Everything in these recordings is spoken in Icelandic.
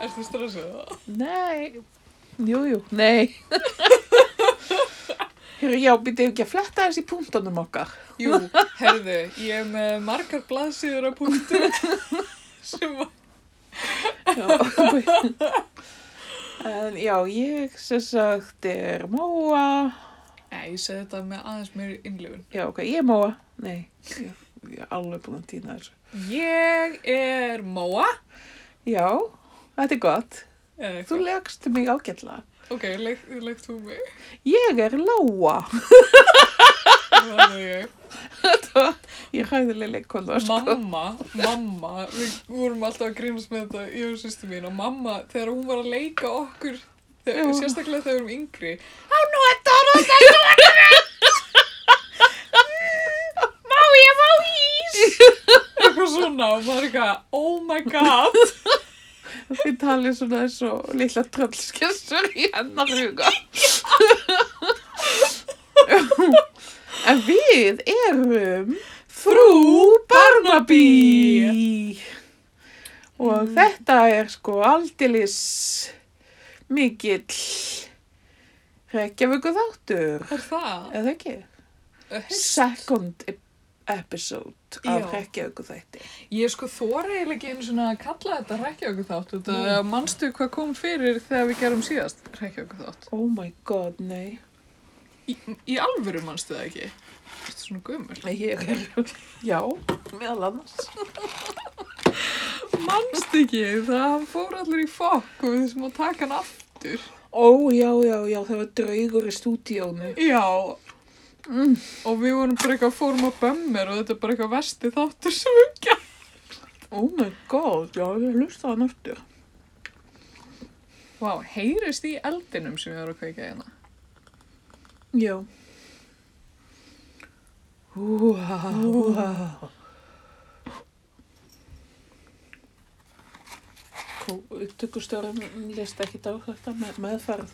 Er þú stressað? Nei, jú, jú, nei. Heyrðu, já, býttu ekki að fletta þessi punktunum okkar. Jú, herðu, ég er með margar blaðsíður að punktu sem að Já, en, já ég sem sagt er Móa. Nei, ég segi þetta með aðeins meiri innlifun. Já, ok, ég er Móa. Nei, ég, ég er alveg búin að týna þessu. Ég er Móa. Já, þetta er gott. Eða Þú eitthvað. legst mig ágætlega. Ok, leik, leik þú mig. Ég er Lóa. Það er ég. Ég er hæðilega leikona, sko. Mamma, mamma, við vorum alltaf að grínast með þetta, ég og sýstu mín, og mamma, þegar hún var að leika okkur, þegar, Jú. sérstaklega þegar við vorum yngri, Má ég fá ís? eitthvað svona, og maður eitthvað, oh my god, Þið talið svona eins og lilla tröllskessur í hennar huga. en við erum frú Barnaby. Og þetta er sko aldilis mikill Reykjavíku þáttur. er það? Eða ekki? Second ep- episode af Já. Reykjavíku þætti. Ég sko þóra eiginlega ekki einu svona að kalla þetta rekkjaukku þátt, þetta mm. manstu hvað kom fyrir þegar við gerum síðast rekkjaukku þátt? Oh my god, nei. Í, í alvöru manstu það ekki? Þetta er svona gömul. Ég er, já, meðal annars. Manstu ekki, það fór allir í fokk og við þessum að taka hann aftur. Ó, já, já, já, það var draugur í stúdíónu. Já. Mm. Og við vorum bara eitthvað fórum á bömmir og þetta er bara eitthvað vesti þáttur sem við gerðum. Oh my god, já, ég hlusta hann eftir. Vá, heyrist í eldinum sem ég var að kveika hérna. Já. Húha, húha. Upptökustjórum list ekki á þetta með, meðferð.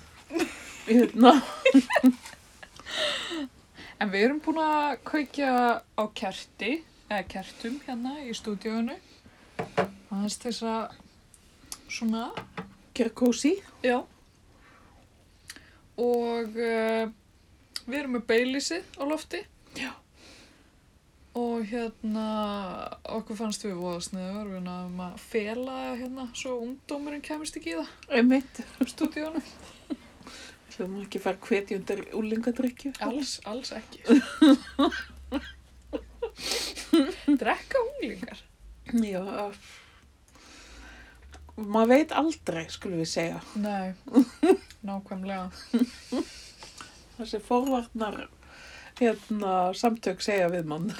Hérna. En við erum búin að kveikja á kerti, eða kertum hérna í stúdíóinu. Aðeins þess að, svona, Kjarkósi. já. Og uh, við erum með beilisið á lofti. Já. Og hérna, okkur fannst við voða sniður, við náðum að fela hérna svo ungdómurinn kemist ekki í það Einmitt. á stúdíónu. Hljóðum ekki að fara hvetja undir úlingadrykju. Alls, alls ekki. Drekka unglingar. Já. af- Maður veit aldrei, skulum við segja. Nei, nákvæmlega. Þessi forvarnar hérna, samtök segja við mann.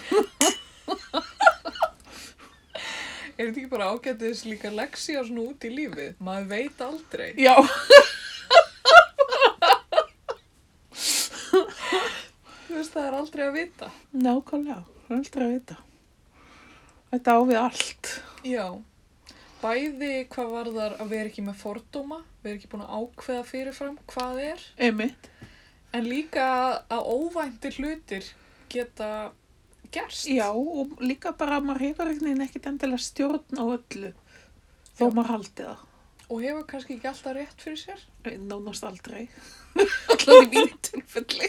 Er þetta ekki bara ágættis líka leksía svona út í lífið? Maður veit aldrei. Já. Þú veist, það er aldrei að vita. Nákvæmlega, það er aldrei að vita. Þetta á við allt. Já. Bæði hvað varðar að vera ekki með fordóma, vera ekki búin að ákveða fyrirfram hvað er, Einmitt. en líka að óvæntir hlutir geta gerst. Já, og líka bara að maður hefur einhvern veginn ekkert endilega stjórn á öllu. Þó Já. maður haldi það. Og hefur kannski ekki alltaf rétt fyrir sér. Nánast aldrei. Alltaf í mínu tilfelli.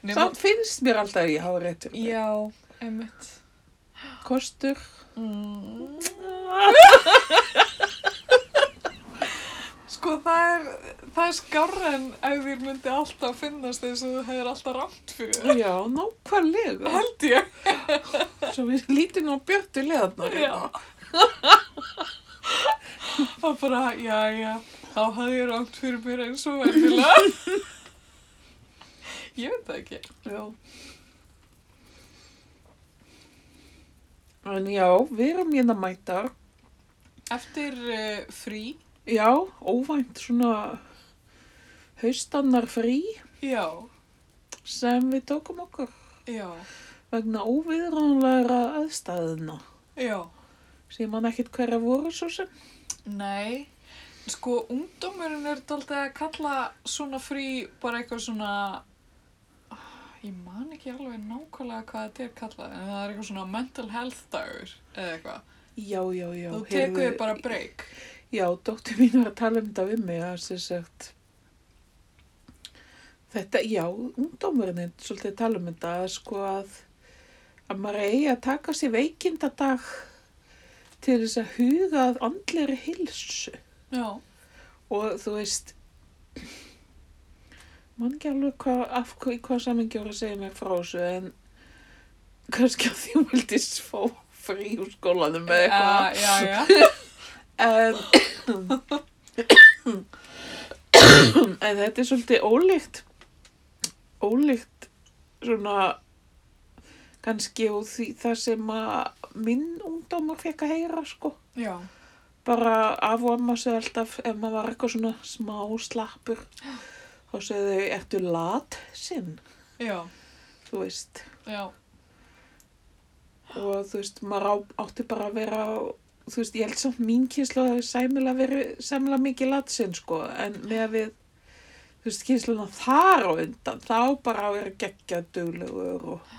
Nema- Samt finnst mér alltaf að ég hafa rétt fyrir mér. Já, einmitt. Kostur. Mm. Sko það er, það er skárra en ef þér myndi alltaf finnast eins og þú hefur alltaf rámt fyrir það. Já, nákvæmlega. Held ég. Svo við lítum nú björtu hérna. leðarnar. Já. Það bara, já, já, þá hafði ég rámt fyrir mér eins og verðilega. Ég veit það ekki. Já. En já, við erum hérna mætar. Eftir uh, frí, Já, óvænt svona haustannar frí já, sem við tókum okkur já, vegna óviðránlega aðstæðina. já. Sér mann ekkit hverja voru svo sem. Nei, sko ungdómurinn er daldið að kalla svona frí bara eitthvað svona Ah, ég man ekki alveg nákvæmlega hvað þetta er kallað en það er eitthvað svona mental health dagur eða eitthvað Já, já, já. Þú heyrðu- tekur þið bara breyk. Já, dóttir mín var að tala um þetta við mig að sem sagt þetta, já, ungdómurinn er svolítið að tala um þetta að sko að að maður eigi að taka sér veikindadag til þess að huga að andleri hilsu Já. og þú veist mann ekki alveg hvað, af, hva- í hvað samingjur að segja mér frá þessu en kannski að því hún vildi fá frí úr skólanum með eitthvað Eh, Já, já, já. En, en þetta er svolítið ólíkt, ólíkt svona kannski og því, það sem að minn ungdómur fekk að heyra sko. Já. Bara af og amma segði alltaf ef maður var eitthvað svona smá slappur þá segði þau, ertu lat sinn, Já. þú veist. Já. og þú veist, maður á, átti bara að vera þú veist, ég held samt mín kynslu að það sæmilega verið sæmilega mikið latsinn sko, en með að við þú veist, kynsluna þar á undan þá bara að vera geggjað duglegur og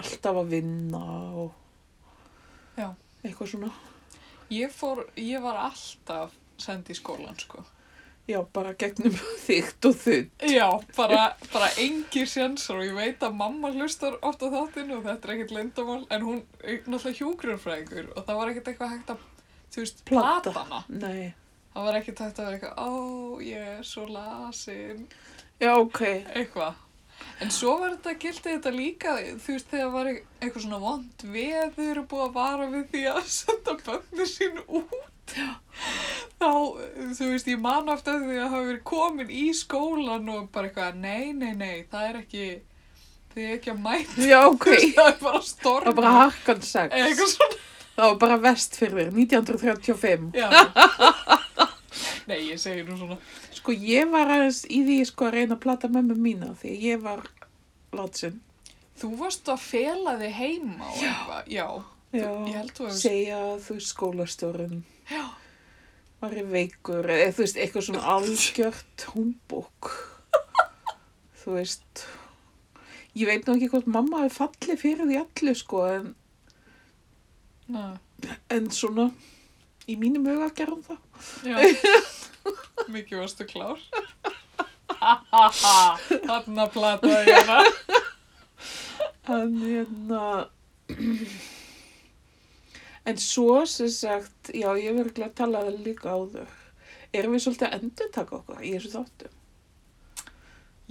alltaf að vinna og Já. eitthvað svona Ég fór, ég var alltaf send í skólan, sko. já, bara gegnum þygt og þutt Já, bara, bara engir sénsar og ég veit að mamma hlustar oft á þáttinn og þetta er ekkert leyndamál en hún er náttúrulega hjúgrunfræðingur og það var ekkert eitthvað hægt að, þú veist, Plata. platana. nei, Það var ekkert hægt að vera eitthvað, ó, ég er svo lasin, já, ok eitthvað. En svo var þetta, gildi þetta líka, þú veist, þegar var eitthvað svona vond veður og búið að vara við því að senda bönni sín út. Þá, þú veist, ég man oft að því að hafa verið komin í skólan og bara eitthvað, nei, nei, nei, það er ekki, þið er ekki að mæta, já, ok, þú veist, það er bara það storm. var bara harkan sex Eitthvað svona, það var bara vest fyrir 1935 já. nei, ég segi nú svona, Sko ég var aðeins í því sko að reyna að plata mömmu mína því að ég var látsinn. þú varst að fela þig heima og eitthvað, já. Já, Ég held þú hefur segja að þú veist skólastjórun Já. var í veikur eða þú veist eitthvað svona algjört humbúk. þú veist, ég veit nú ekki hvort mamma er fallið fyrir því allu sko en, Næ. en svona í mínum huga gerum það. Já. Mikið varstu klár. Hanna plataði hérna. En hérna, en svo sem sagt, já ég hef verið að tala það líka áður. Erum við svolítið að endurtaka okkur í þessu þáttu?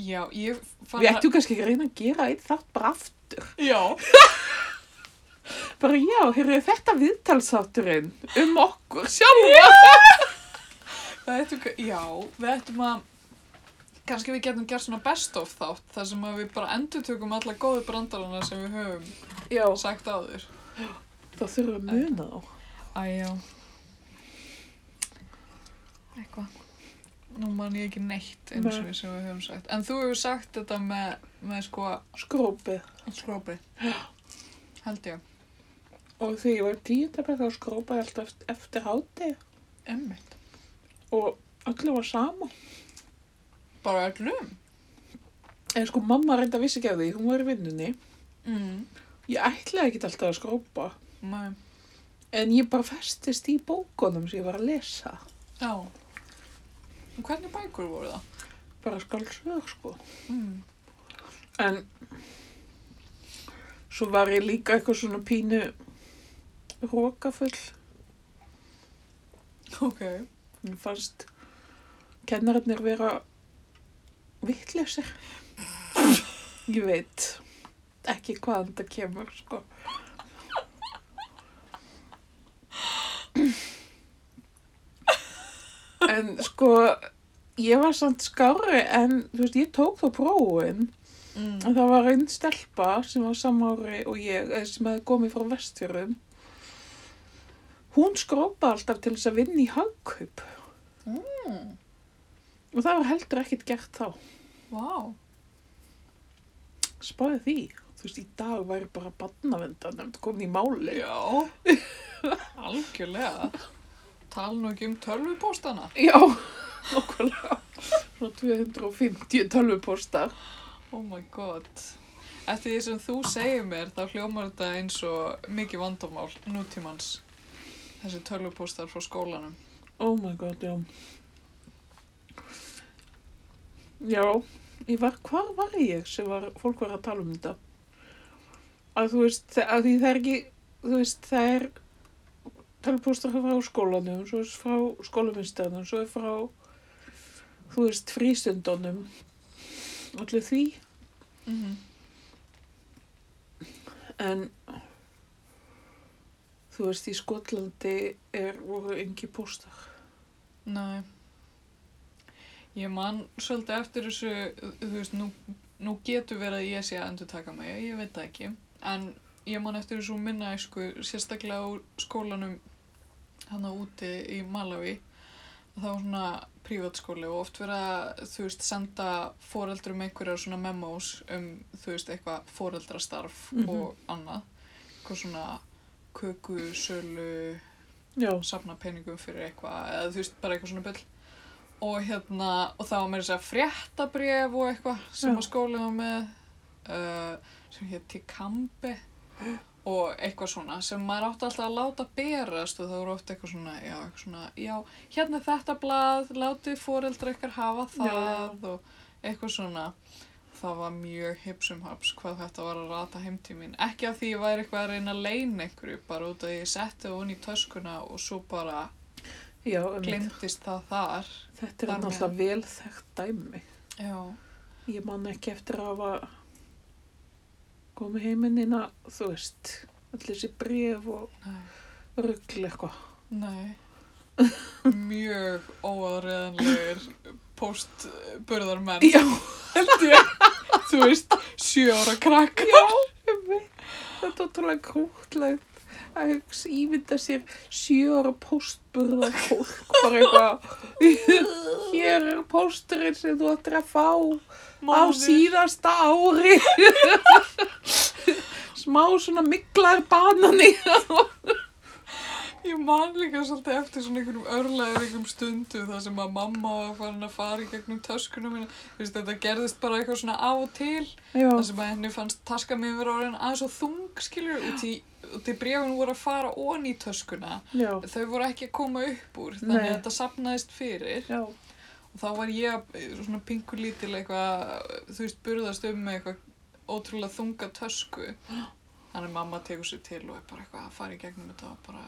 Já, ég fann Við ættum kannski að reyna að gera eitt þátt bara aftur. Já, Bara já, heyrðu þetta viðtalsátturinn um okkur sjálfa. við ættum, já, við ættum að, kannski við getum gert svona best of þátt, þar sem að við bara endurtökum alla góðu brandarana sem við höfum Já. sagt áður. Það þurfum að muna þá. Æjá. Eitthvað. Nú man ég ekki neitt eins og Nei. við sem við höfum sagt. En þú hefur sagt þetta með, með sko, Skrópið. skrópið. Held ég. Og þegar ég var tíundabæk þá skrópaði ég alltaf eftir, eftir háti Emmitt. og öllu var sama. Bara öllum. En sko mamma reynda vissi ekki af því, hún var í vinnunni. Mm. Ég ætlaði ekki alltaf að skrópa. Nei. En ég bara festist í bókunum sem ég var að lesa. Já. Og hvernig bækur voru það? Bara skálsög, sko. Mm. En svo var ég líka eitthvað svona pínu rókafull. Ok. Mér fannst kennararnir vera vittlausir. Ég veit ekki hvaðan þetta kemur, sko. En sko, ég var samt skári en þú veist, ég tók þá prófin Mm. en það var einn stelpa sem var samári og ég, eh, sem hefði komið frá vestfjörðum. Hún skrópaði alltaf til þess að vinna í hagkaup. Mm. Og það var heldur ekkert gert þá. Vá. Spáði því. Þú veist, í dag væri bara barnavenda nefnd komin í máli. Já. Algjörlega. Tala nú ekki um tölvupóstana. Já, nokkulega. Svo 250 tölvupostar. Oh my god. Eftir því sem þú segir mér, þá hljómar þetta eins og mikið vandamál nútímans. þessi tölvupóstar frá skólanum. Oh my god, já. Já, ég var, hvar var ég sem var, fólk var að tala um þetta? Að þú veist, þe- að því það er ekki, þú veist, það er tölpóstar frá skólanum, svo er frá skóluminnstæðanum, svo er frá, þú veist, frístundunum, allir því, Mm en þú veist, í Skotlandi er, voru engi póstar. Nei. Ég man svolítið eftir þessu, þú veist, nú, nú getur verið að ég sé að endur taka mig, ég veit það ekki. En ég man eftir þessu úr minna, sko, sérstaklega á skólanum hann úti í Malawi. Það var svona prívatskóli og oft verið að, þú veist, senda foreldrum einhverjar svona memos um, þú veist, eitthvað foreldrastarf Mhm. og annað. Eitthvað svona kökusölu, Já, safna peningum fyrir eitthvað eða þú veist, bara eitthvað svona byll og hérna, og það var meira þess að fréttabref og eitthvað sem Já. að skóla var með uh, sem hétt Tikambi og eitthvað svona sem maður átti alltaf að láta berast og það voru oft eitthvað svona, já, eitthvað svona já, hérna er þetta blað, látið foreldra ykkar hafa það og eitthvað svona það var mjög hipsum haps hvað þetta var að rata heim til mín ekki að því ég væri eitthvað að reyna að leina einhverju bara út af því ég setti það unni í töskuna og svo bara já, um glemtist það þar Þetta er Þar með. náttúrulega vel þekkt dæmi. já, Ég man ekki eftir að hafa komið heiminn inn að, þú veist, allir þessi bref og nei, ruggl eitthvað. nei mjög óaðreðanlegir postburðarmenn Já, held ég þú veist, sjö ára krakk já, ég veit. Þetta er tóttulega krútlegt að hugsa ímynda sér sjö ára póstburða fólk bara eitthvað. Hér er pósturinn sem þú ættir að fá á síðasta ári. Smá svona miklar banani. Ég man líka svolítið eftir svona einhverjum örlaður einhverjum stundu þar sem að mamma var farin að fara í gegnum töskuna mína. Þú veist, þetta gerðist bara eitthvað svona af og til. Já, þar sem að henni fannst taska mér verið orðin aðeins og þung, skilur, út í, út í brefin voru að fara ón í töskuna. já, Þau voru ekki að koma upp úr, þannig Nei. að þetta sapnaðist fyrir. já. Og þá var ég að- svona pingu lítil eitthvað, þú veist, burðast um með eitthvað ótrúlega þunga tösku. Þannig að mamma tekur sér til og er bara eitthvað að fara í gegnum þetta og bara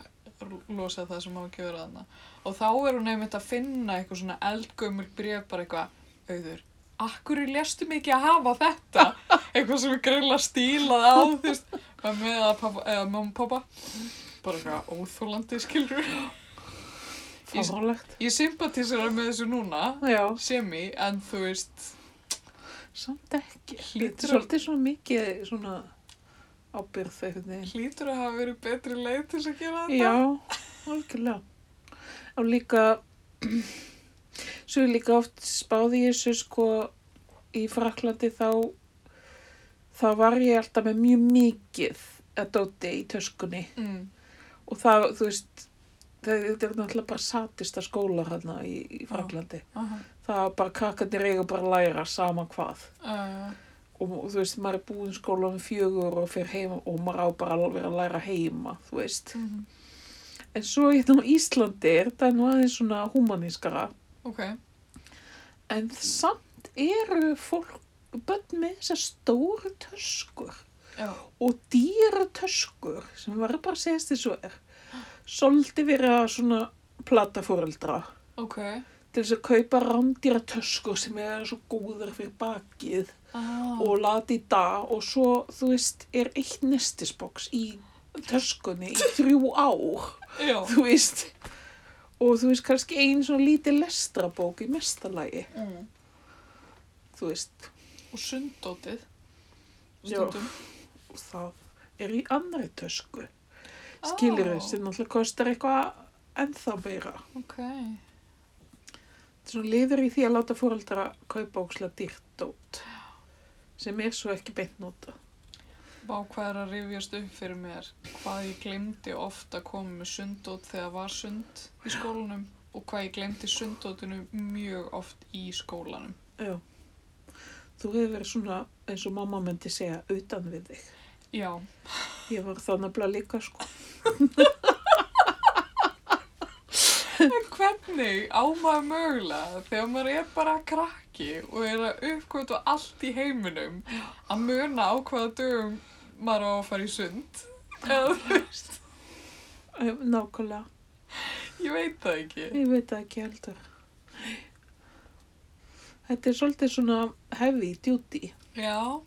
l- losa það sem má ekki vera þarna. Og þá er hún einmitt að finna eitthvað svona eldgömmur bref bara eitthvað, auður, akkur léstu mikið að hafa þetta? Eitthvað sem er grilla stílað á, þú veist, var með að pappa, eða mamma og pappa. Bara eitthvað óþólandi skilur. Ég- Fárlegt. Ég sympatísera með þessu núna, Já, semi, en þú veist, samt ekki. Þetta Hlýtur er að- svolítið svona mikið svona ábyrð eitthvað neginn. hlýtur að hafa verið betri leið til þess að gera þetta. Já, algjörlega. Og líka, svo er líka oft spáði ég þessu sko í Fraklandi þá, þá var ég alltaf með mjög mikið að dóti í töskunni. Mm, Og það, þú veist, það- þetta er náttúrulega bara satista skólar hérna í, í Fraklandi. aha, Það var bara krakkarnir eiga bara að læra sama hvað. uh, og þú veist, maður er búinn skólan fjögur og fyrir heima og maður á bara alveg að læra heima, þú veist. mhm, En svo hérna á Íslandi er þetta nú aðeins svona humanískara, ok, en samt eru fólk, bönn með þessar stóru töskur já, og dýra töskur sem var bara að segist þessu er, svolítið verið að svona plata fóreldra ok, til þess að kaupa rándýra töskur sem er svo góðar fyrir bakið ah, og lati í dag og svo, þú veist, er eitt nestisboks í töskunni í þrjú ár, já, þú veist. Og þú veist, kannski ein svona lítið lestrabók í mestalagi, mm. þú veist. og sunddótið, Já. stundum. Og það er í annari tösku, skilur Ó, þau, sem náttúrulega kostar eitthvað ennþá meira. Ah, Ok, Svo liður í því að láta fóreldra kaupa ókslega dýrt dót, sem er svo ekki beint nota. vá hvað er að rifjast upp fyrir mér, hvað ég glemdi oft að koma með sunddót þegar var sund í skólanum og hvað ég glemdi sunddótinu mjög oft í skólanum. Já. Þú hefur verið svona, eins og mamma myndi segja, utan við þig. Já, Ég var það nefnilega líka sko. En hvernig á maður mögulega þegar maður er bara krakki og er að uppkvöta allt í heiminum að muna á hvaða dögum maður á að fara í sund? Eða, þú veist, Nákvæmlega, ég veit það ekki. ég veit það ekki heldur. Þetta er svolítið svona heavy duty. Já,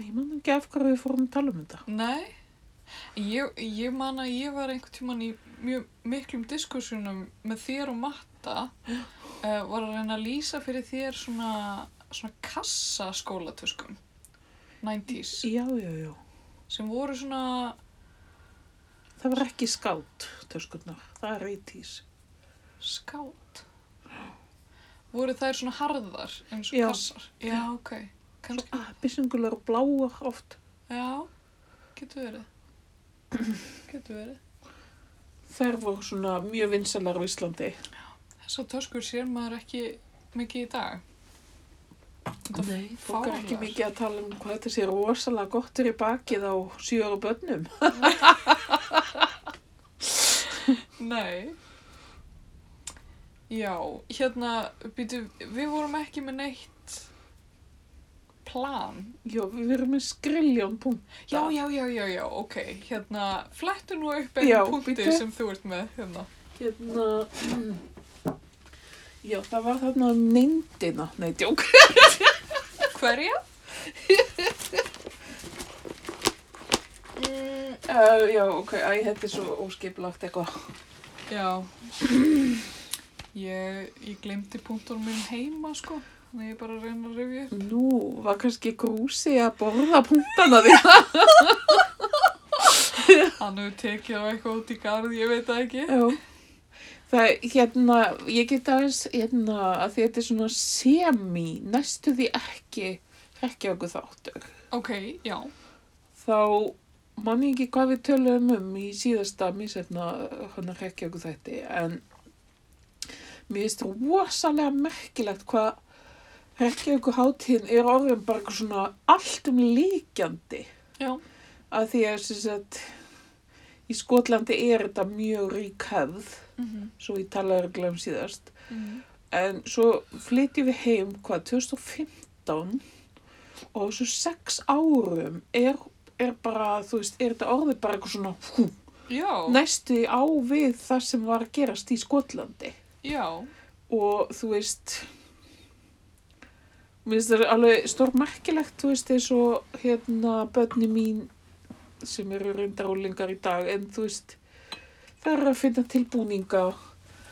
Ég man ekki af hverju við fórum að tala um þetta. nei. Ég, ég man að ég var einhvern tíman í mjög miklum diskussunum með þér og Matta uh, var að reyna að lýsa fyrir þér svona, svona kassa skólatöskum 90s Já, já, já. sem voru svona Það var ekki skátt, töskurnar. Það er 80s. Skátt? Voru þær svona harðar eins og Já. kassar? Já, ok. Svo Kannski, abyssingular og bláar oft. já, getur verið. Getur verið. Þær voru svona mjög vinsalar á Íslandi. Þessar töskur sér maður ekki mikið í dag. Þetta Nei, fólk er ekki fáránlegar. mikið að tala um hvað þetta sé rosalega gott er í bakið á sjöra börnum. Nei. Já, hérna, býtu, við vorum ekki með neitt plan. Já, við erum með skriljón punkt. Já, já, já, já, já, ok. Hérna, flettu nú upp Já, einu punkti bíddu. sem þú ert með, hérna. Hérna, mm. já, það var þarna um neyndina, nei, djók. Hverja? Uh, já, ok, æ, þetta er svo óskiplagt eitthvað. Já, ég, ég glemdi punktunum minn heima sko, þannig að ég er bara að reyna að rifja upp. Nú, var kannski grúsi að borða punktana því. Hann hefur tekið á eitthvað út í garð, ég veit það ekki. já, það er, hérna, ég get aðeins, hérna, að því þetta er svona semi, næstu því ekki, ekki okkur þáttur. Ok, já, þá mann ég ekki hvað við töluðum um í síðasta misefna hann að rekja okkur þetta en mér finnst rosalega merkilegt hvað rekja okkur hátíðin er orðin bara eitthvað svona allt um líkjandi já, að því að sem sagt, í Skotlandi er þetta mjög rík hefð mm -hmm. svo ég talaði örugglega um síðast mhm. en svo flytjum við heim hvað 2015 og á þessu sex árum er, er bara, þú veist, er þetta orðið bara eitthvað svona hú, já, næstu á við það sem var að gerast í Skotlandi já, og þú veist mér finnst það alveg stórmerkilegt, þú veist, eins og hérna börni mín sem eru reyndarólingar í dag en þú veist, það eru að finna tilbúninga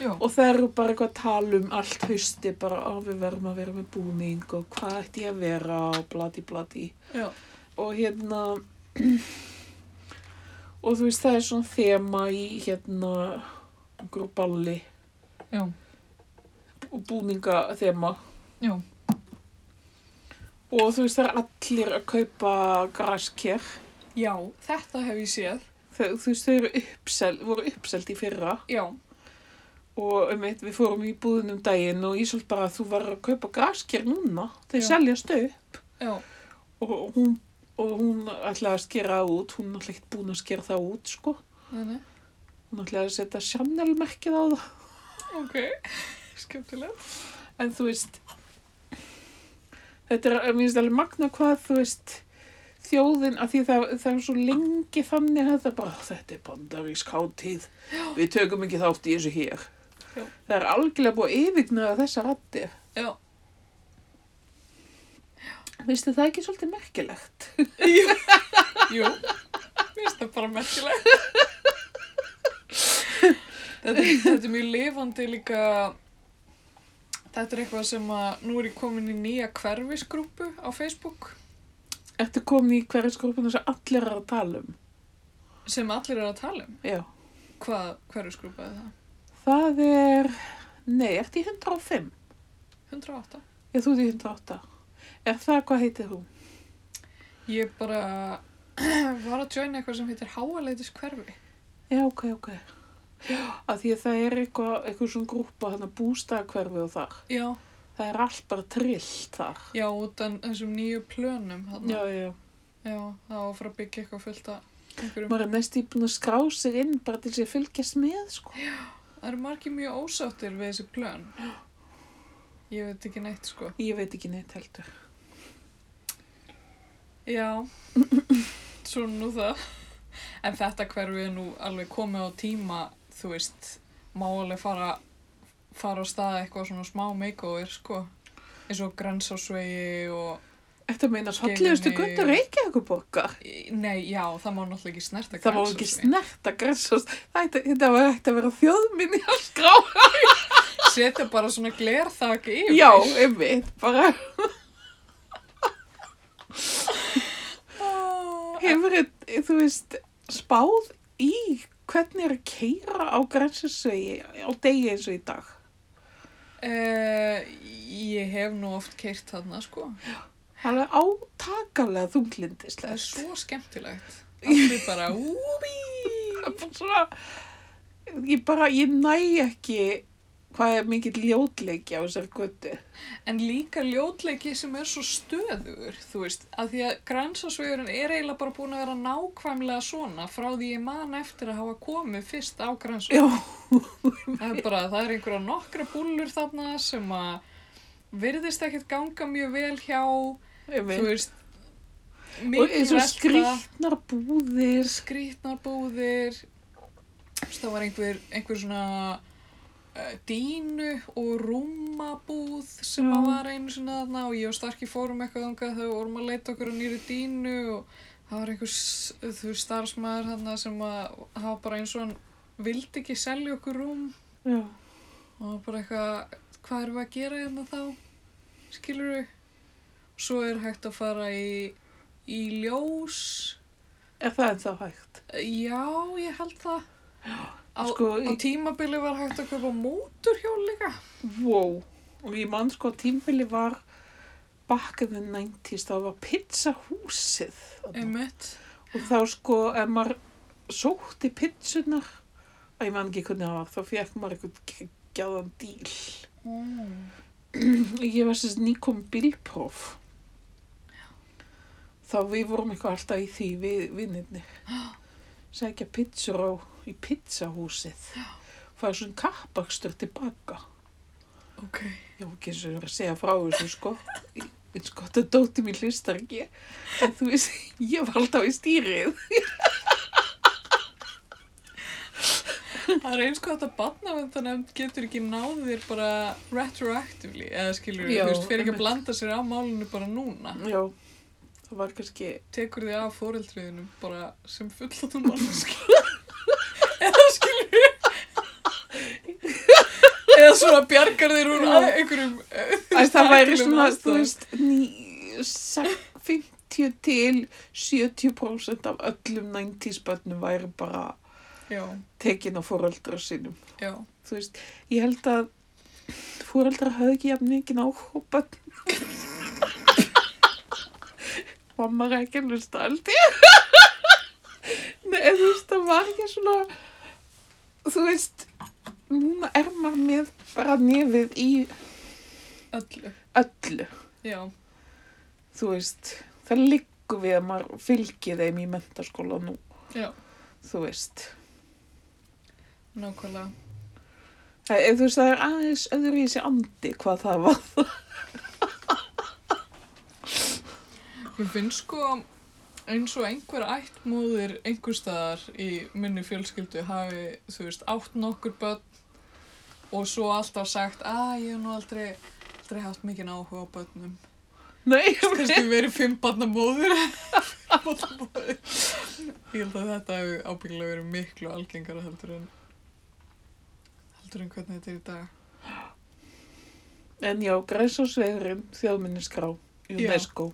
já, og það eru bara eitthvað að tala um allt hausti bara að við verðum að vera með búning og hvað ætti ég að vera og bladi bladi já, og hérna og þú veist það er svona þema í hérna einhverju balli já, og búninga þema já, og þú veist það er allir að kaupa grasker já, þetta hef ég séð, Þau, þú veist þau eru uppsel, voru uppselt í fyrra já, og um eitt við fórum í búðunum um daginn og ég svolít bara þú var að kaupa grasker núna þau Já. seljast upp já, og hún, og hún ætlaði að skera það út hún ætlaði ekkert búin að skera það út sko þannig, hún ætlaði að setja Chanel-merkið á það ok, skemmtilegt. En þú veist, þetta er, mér finnst alveg magna hvað, þú veist, þjóðin, að því það, það er svo lengi þannig að þetta bara, þetta er bandarísk hátíð, við tökum ekki þátt í þessu hér. Já. Það er algjörlega búið að yfirgnaða þessa rættir. Já, Vistu það er ekki svolítið merkilegt? jú, mér finnst það bara merkilegt. þetta, þetta er mjög lifandi líka, þetta er eitthvað sem að nú er ég komin í nýja hverfisgrúpu á Facebook Ertu komin í hverju skrúpuna sem allir er að tala um? sem allir eru að tala um. Já. Hvað hverfisgrúpa er það? Það er, nei, ertu í 105? 108. Já, þú ert í 108. Er það, hvað heitir þú? Ég bara var að joina eitthvað sem heitir Háaleitis hverfi. Já, ok, ok. Að því að það er eitthvað, eitthvað svona grúpa, þannig að bústæðakverfi og þar. Já, Það er allt bara trillt þar. já, út af þessum nýju plönum. þarna. Já, já. Já, það var að fara að byggja eitthvað fullt að einhverjum. maður er næst í búin að skrá sig inn bara til þess að fylgjast með sko. Það eru margir mjög ósáttir við þessi plön. Ég veit ekki neitt, sko. ég veit ekki neitt heldur Já, svo nú það. En þetta hverfi er nú alveg komið á tíma, þú veist, má alveg fara, fara á staða eitthvað svona smá makeover, sko. Eins og grensásvegi og, Þetta meina Skefinni. fallegustu gönda Reykjavíkuborgar nei, já, það má náttúrulega ekki snerta Það má ekki Grensásveg. snerta græsast Þetta, þetta var ekkert að vera þjóðminni að skrá Setja bara svona glerþak yfir. Já, einmitt, bara Ó, en- hefur þetta, þú veist, spáð í hvernig er að keira á grænsasvegi á degi eins og í dag. Eh, ég hef nú oft keirt þarna sko Það er átakalega það er þunglindislegt. svo skemmtilegt allir bara ú Það er bara svona, ég bara, ég næ ekki hvað er mikið ljótleiki á þessar götu. en líka ljótleiki sem er svo stöðugur þú veist, að því að grænsasvegurinn er eiginlega bara búin að vera nákvæmlega svona frá því ég man eftir að hafa komið fyrst á grænsasvegurinn Já, það er bara, það er einhverja nokkra búllur þarna sem að virðist ekkert ganga mjög vel hjá þú einmitt. veist Og eins og velta. skrýtnar búðir. skrítnar búðir Þú veist, það var einhver, einhver svona uh, dínu og rúmabúð sem Já. að var einu sinna þarna og ég og Starki fórum eitthvað þangað þegar við vorum að leita okkur að nýri dínu og það var einhver s- þú veist, starfsmæður þarna sem að hafa bara eins og hann vildi ekki selja okkur rúm Já, og það var bara eitthvað hvað erum við að gera hérna þá skilur við svo er hægt að fara í í ljós er það ennþá hægt? Já, ég held það. Á, Sko, á í- tímabili var hægt að köpa móturhjól líka. Wow. Og ég man sko að tímbili var back in the 90s, það var pizzahúsið. þarna. Einmitt. Og þá sko, ef maður sótti pizzunar, að ég man ekki hvernig það var, þá fekk maður eitthvað geggjaðan díl. Mm. Ég var sérst nýkom bílpróf. Þá við vorum eitthvað alltaf í því við vinninni. Sækja pizzur á í pizzahúsið. Fæða svona kappakstur tilbaka. Ok. Ég var ekki eins og verið að segja frá þessu sko. Eins gott að dóti mín hlustar ekki. En þú veist, ég var alltaf í stýrið. Það er eins og þetta barnavendanefnd getur ekki náð þér bara retroactively, eða skilur við, Já, þú veist, fyrir ekki einmitt. að blanda sér á málinu bara núna. Já, það var kannski, Tekur þig af fóreldriðinu bara sem fullatum mannskja. eða skilur við. eða svona bjargar þér úr Já. einhverjum... eh, þú að veist, það væri hættulegum svona, þú aðstæðum. veist, ný- sex- 50 til 70% af öllum 90s bönnum væri bara Já, tekin á fóreldra sínum. já. Þú veist, ég held að fóreldra höfðu ekki jafn mikið áhuga á bönnum. Mamma er ekki að hlusta aldrei. Nei, en þú veist, það var ekki svona, þú veist, núna er maður með bara nefið í Öllu. öllu. Já. þú veist, það liggur við að maður fylgi þeim í mentaskóla nú, Já, þú veist. nákvæmlega. Það, er- þú veist, það er aðeins öðruvísi andi hvað það var. Mér finnst sko eins og einhver ættmóðir einhverstaðar í minni fjölskyldu hafi, þú veist, átt nokkur börn og svo alltaf sagt að ég hef nú aldrei, aldrei haft mikinn áhuga á börnum. Nei, Kannski verið fimm barna móðir. Barnamóðir. ég held að þetta hefur ábyggilega verið miklu algengara heldur en heldur en hvernig þetta er í dag. en já, græsásvegurinn, þjóðminniskrá, UNESCO.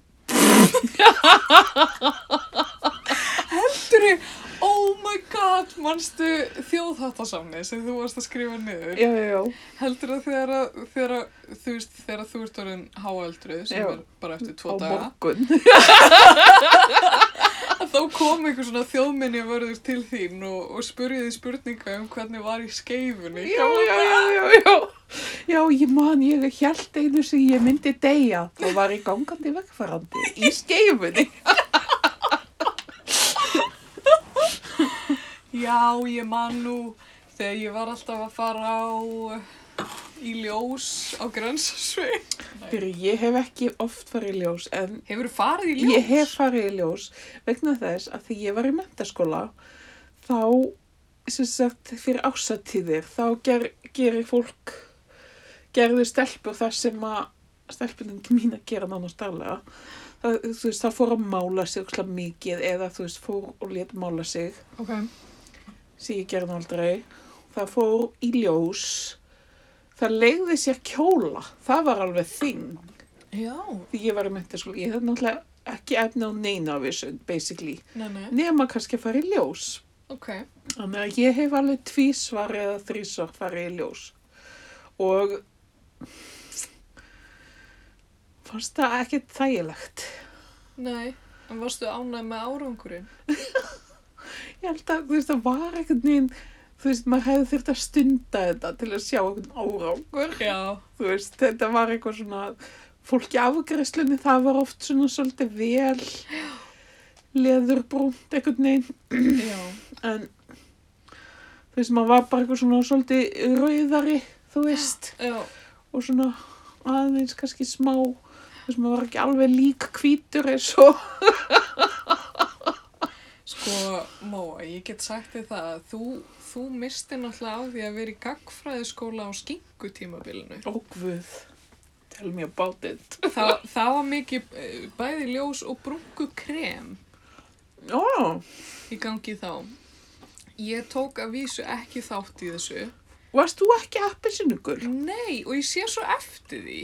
Heldur ég, oh my god, manstu þjóðháttasafni sem þú varst að skrifa niður? Já, já, já. Heldur að þegar, að þegar að þú veist, þegar að þú ert orðin háaldruð sem Já. er bara eftir tvo Á daga, morgun. að þá kom einhver svona þjóðminni vörður til þín og, og spurði því spurninga um hvernig var í skeifunni. Já, já, já, já, já. Já, ég man, ég held einu sem ég myndi deyja. Þá var ég gangandi vegfarandi í skeifunni. Já, ég man nú þegar ég var alltaf að fara á í ljós á grönsasveg. Fyrir ég hef ekki oft farið í ljós en Hefur farið í ljós? ég hef farið í ljós vegna þess að því ég var í mentaskóla þá sem sagt fyrir ásatíðir þá ger, gerir fólk gerðu stelpur það sem að stelpunum mín að gera nánast daglega það, þú veist, það fór að mála sig ókslega mikið eða þú veist, fór og let mála sig Ok. sem ég gerði nú aldrei. Það fór í ljós. Það leiði sér kjóla. Það var alveg þing. Já. Því ég var í mentaskóla. Ég hef náttúrulega ekki efni á neina af þessu, basically. Nei, nei. Nema kannski að fara í ljós. Ok. Þannig að ég hef alveg tvísvar eða þrísvar farið í ljós. Og fannst það ekkert þægilegt. Nei. En varstu ánægð með árangurinn? Ég held að, þú veist, það var ekkert neginn, þú veist, maður hefði þurft að stunda þetta til að sjá einhvern árangur. Já. þú veist, þetta var eitthvað svona fólk í afgreslunni, það var oft svona svolítið vel leðurbrúnt einhvern veginn Já. en þú veist, maður var bara eitthvað svona svolítið rauðari, þú veist Já. og svona aðeins kannski smá þú veist, maður var ekki alveg lík hvítur eins og Sko, Móa, ég get sagt þér það að þú, þú misti náttúrulega á því að vera í gagfræðiskóla á skingutímabilinu. ó guð, tell me about it Það, það var mikið eh, bæði ljós og brungu krem ó, í gangi þá. Ég tók að vísu ekki þátt í þessu. varst þú ekki appensinnugul? Nei, og ég sé svo eftir því.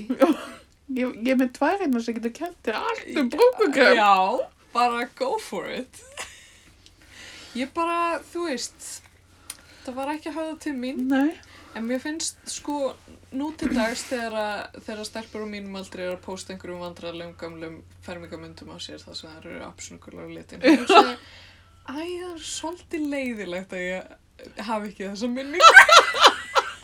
Ég, ég er með tvær einar sem getur kent þér allt um brúkugröf Já, bara go for it. Ég bara, þú veist, það var ekki að höfða til mín. Nei, En mér finnst sko nú til dags þegar, að- þegar stelpur á mínum aldrei er að posta einhverjum vandrarlegum gamlum fermingamundum á sér þar sem það eru absúrkulega litin. Æ, það er svolítið leiðilegt að ég hafi ekki þessa minningu.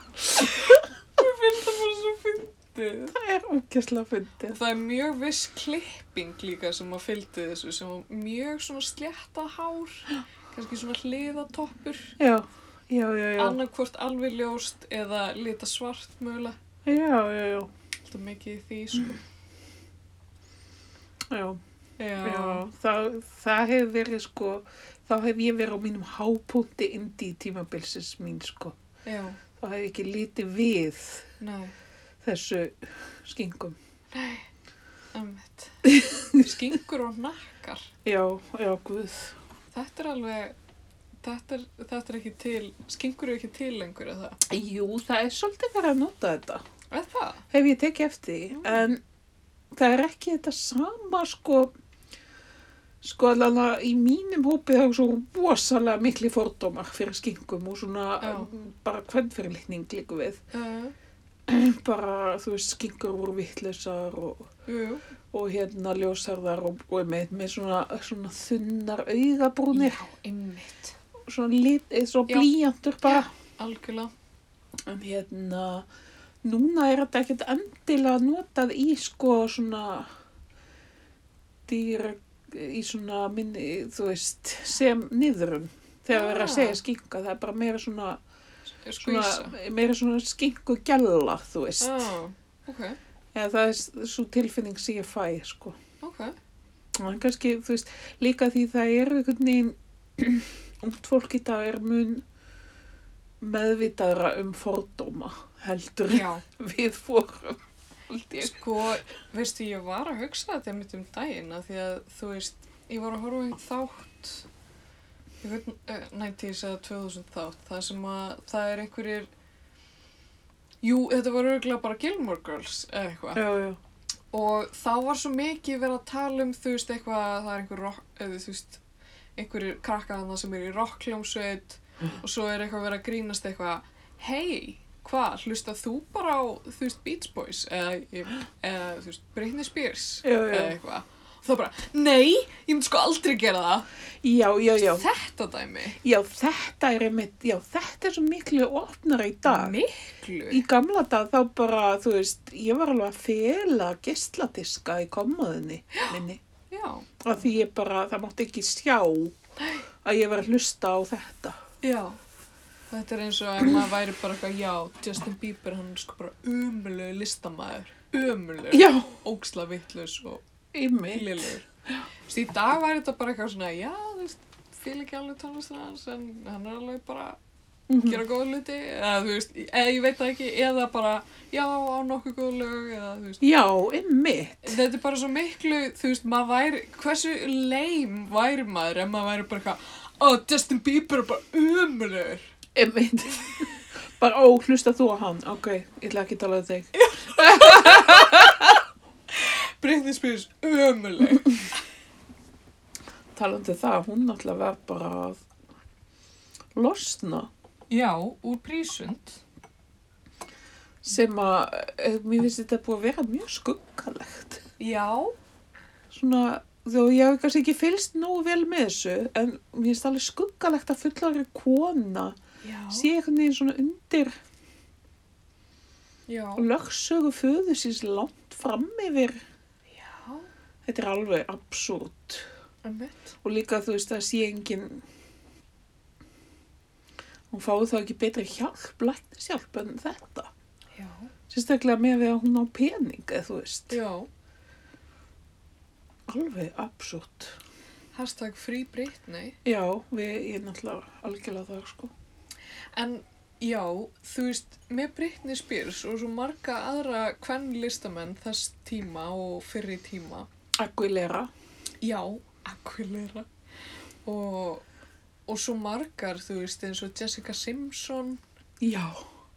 mér finnst það bara svo fyndið. það er ókesslega fyndið. Það er mjög viss klipping líka sem að fylgdi þessu sem var mjög svona slétta hár, kannski svona hliðatoppur. Já, já, já, já. annarkvort alveg ljóst eða lita svart mögulega já, já, já, alltaf mikið í því sko. já, já, já. Það, það hef verið sko, þá hef ég verið á mínum hápunkti indi í tímabilsins mín sko. já, Þá hef ég ekki litið við nei, þessu skingum. ömmit skingur og nakkar Já, já, guð. þetta er alveg þetta er, þetta er ekki til, skingur er ekki til lengur eða það, Jú, það er svolítið verið að nota þetta. er það? Hef ég tekið eftir því, en það er ekki þetta sama sko, sko alveg að í mínum hópi það er svo rosalega mikli fordómar fyrir skingum og svona Já. um, bara kvennfyrirlikning líku við. Uh, Bara, þú veist, skingur voru vittlausar og, jú, jú. og hérna ljósarðar og, og með, með svona, svona þunnar augabrúnir, einmitt svona lit, eh, svona Já. blíjantur bara. algjörlega, En hérna, núna er þetta ekkert endilega notað í sko svona dýra, í svona minni, þú veist, sem niðurum. Þegar við erum að Já. segja skinka, það er bara meira svona, svona skvísa meira svona skinku gjalla, þú veist. ah, ok, Eða það er svo tilfinning sem ég fæ, sko. ok En kannski, þú veist, líka því það er einhvern veginn, ungt fólk í dag er mun meðvitaðra um fordóma, heldur já, við fórum held ég. Sko, veistu, ég var að hugsa þetta mitt um daginn að því að, þú veist, ég var að horfa á einn þátt, ég veit, eh, 90s eða 2000 þátt, það sem að það er einhverjir, jú, þetta var örgulega bara Gilmore Girls eða eitthvað. Já, já. Og þá var svo mikið verið að tala um, þú veist, eitthvað, það er einhver rock, eða þú veist, einhverjir krakkaðana sem eru í rockljómsveit Mm. og svo er eitthvað verið að grínast eitthvað, hei, hvað, hlusta þú bara á, þú veist, Beach Boys eða, ég- eða þú veist, Britney Spears Já, já. eða eitthvað. Og þá bara, nei, ég myndi sko aldrei gera það. Já, já, já. Þetta dæmi. Já, þetta er einmitt, já, þetta er svo miklu opnara í dag. Í Miklu. gamla dag þá bara, þú veist, ég var alveg að fela geisladiska í komaðinni minni. Já, Af því ég bara, það mátti ekki sjá að ég var að hlusta á þetta. Já. Þetta er eins og ef maður væri bara eitthvað, já, Justin Bieber, hann er sko bara umulegu listamæður. Umulegu. Já, Óksla vittlaus og ymmið. lélugur. Þú veist, í dag væri þetta bara eitthvað svona, já, þú veist, fíl ekki alveg tónlistina hans, en hann er alveg bara gera góða hluti, eða þú veist, eða ég veit það ekki, eða bara, já, á nokkuð góð lög, eða þú veist. Já, ymmið. Þetta er bara svo miklu, þú veist, maður væri, hversu leim væri maður ef maður væri bara eitthvað, ó, Justin Bieber er bara umröður. Ymmið. Bara, ó, hlusta þú á hann. Ok, ég ætla ekki að tala um þig. Britney Spears umröður. Talandi um það, hún náttúrulega var bara að losna. Já, úr prísund. sem að, eh, mér finnst þetta búið að vera mjög skuggalegt. Já. Svona, þó ég hef kannski ekki fylst nógu vel með þessu, en mér finnst alveg skuggalegt að fullari kona Já. sé einhvern veginn svona undir Já. lögsögu föðu síns langt fram yfir. Já. Þetta er alveg absúrt. Ummitt. Og líka þú veist að sé engin, hún fái þá ekki betri hjálp, læknishjálp en þetta. Já. Sérstaklega með við að hún á pening, eða þú veist. Já. Alveg absúrt. Hashtag Free Britney. Já, við, ég er náttúrulega algjörlega það, sko. En já, þú veist, með Britney Spears og svo marga aðra hvern listamenn þess tíma og fyrri tíma. Aguilera. Já, Aquilera. Og, og svo margar, þú veist, eins og Jessica Simpson Já.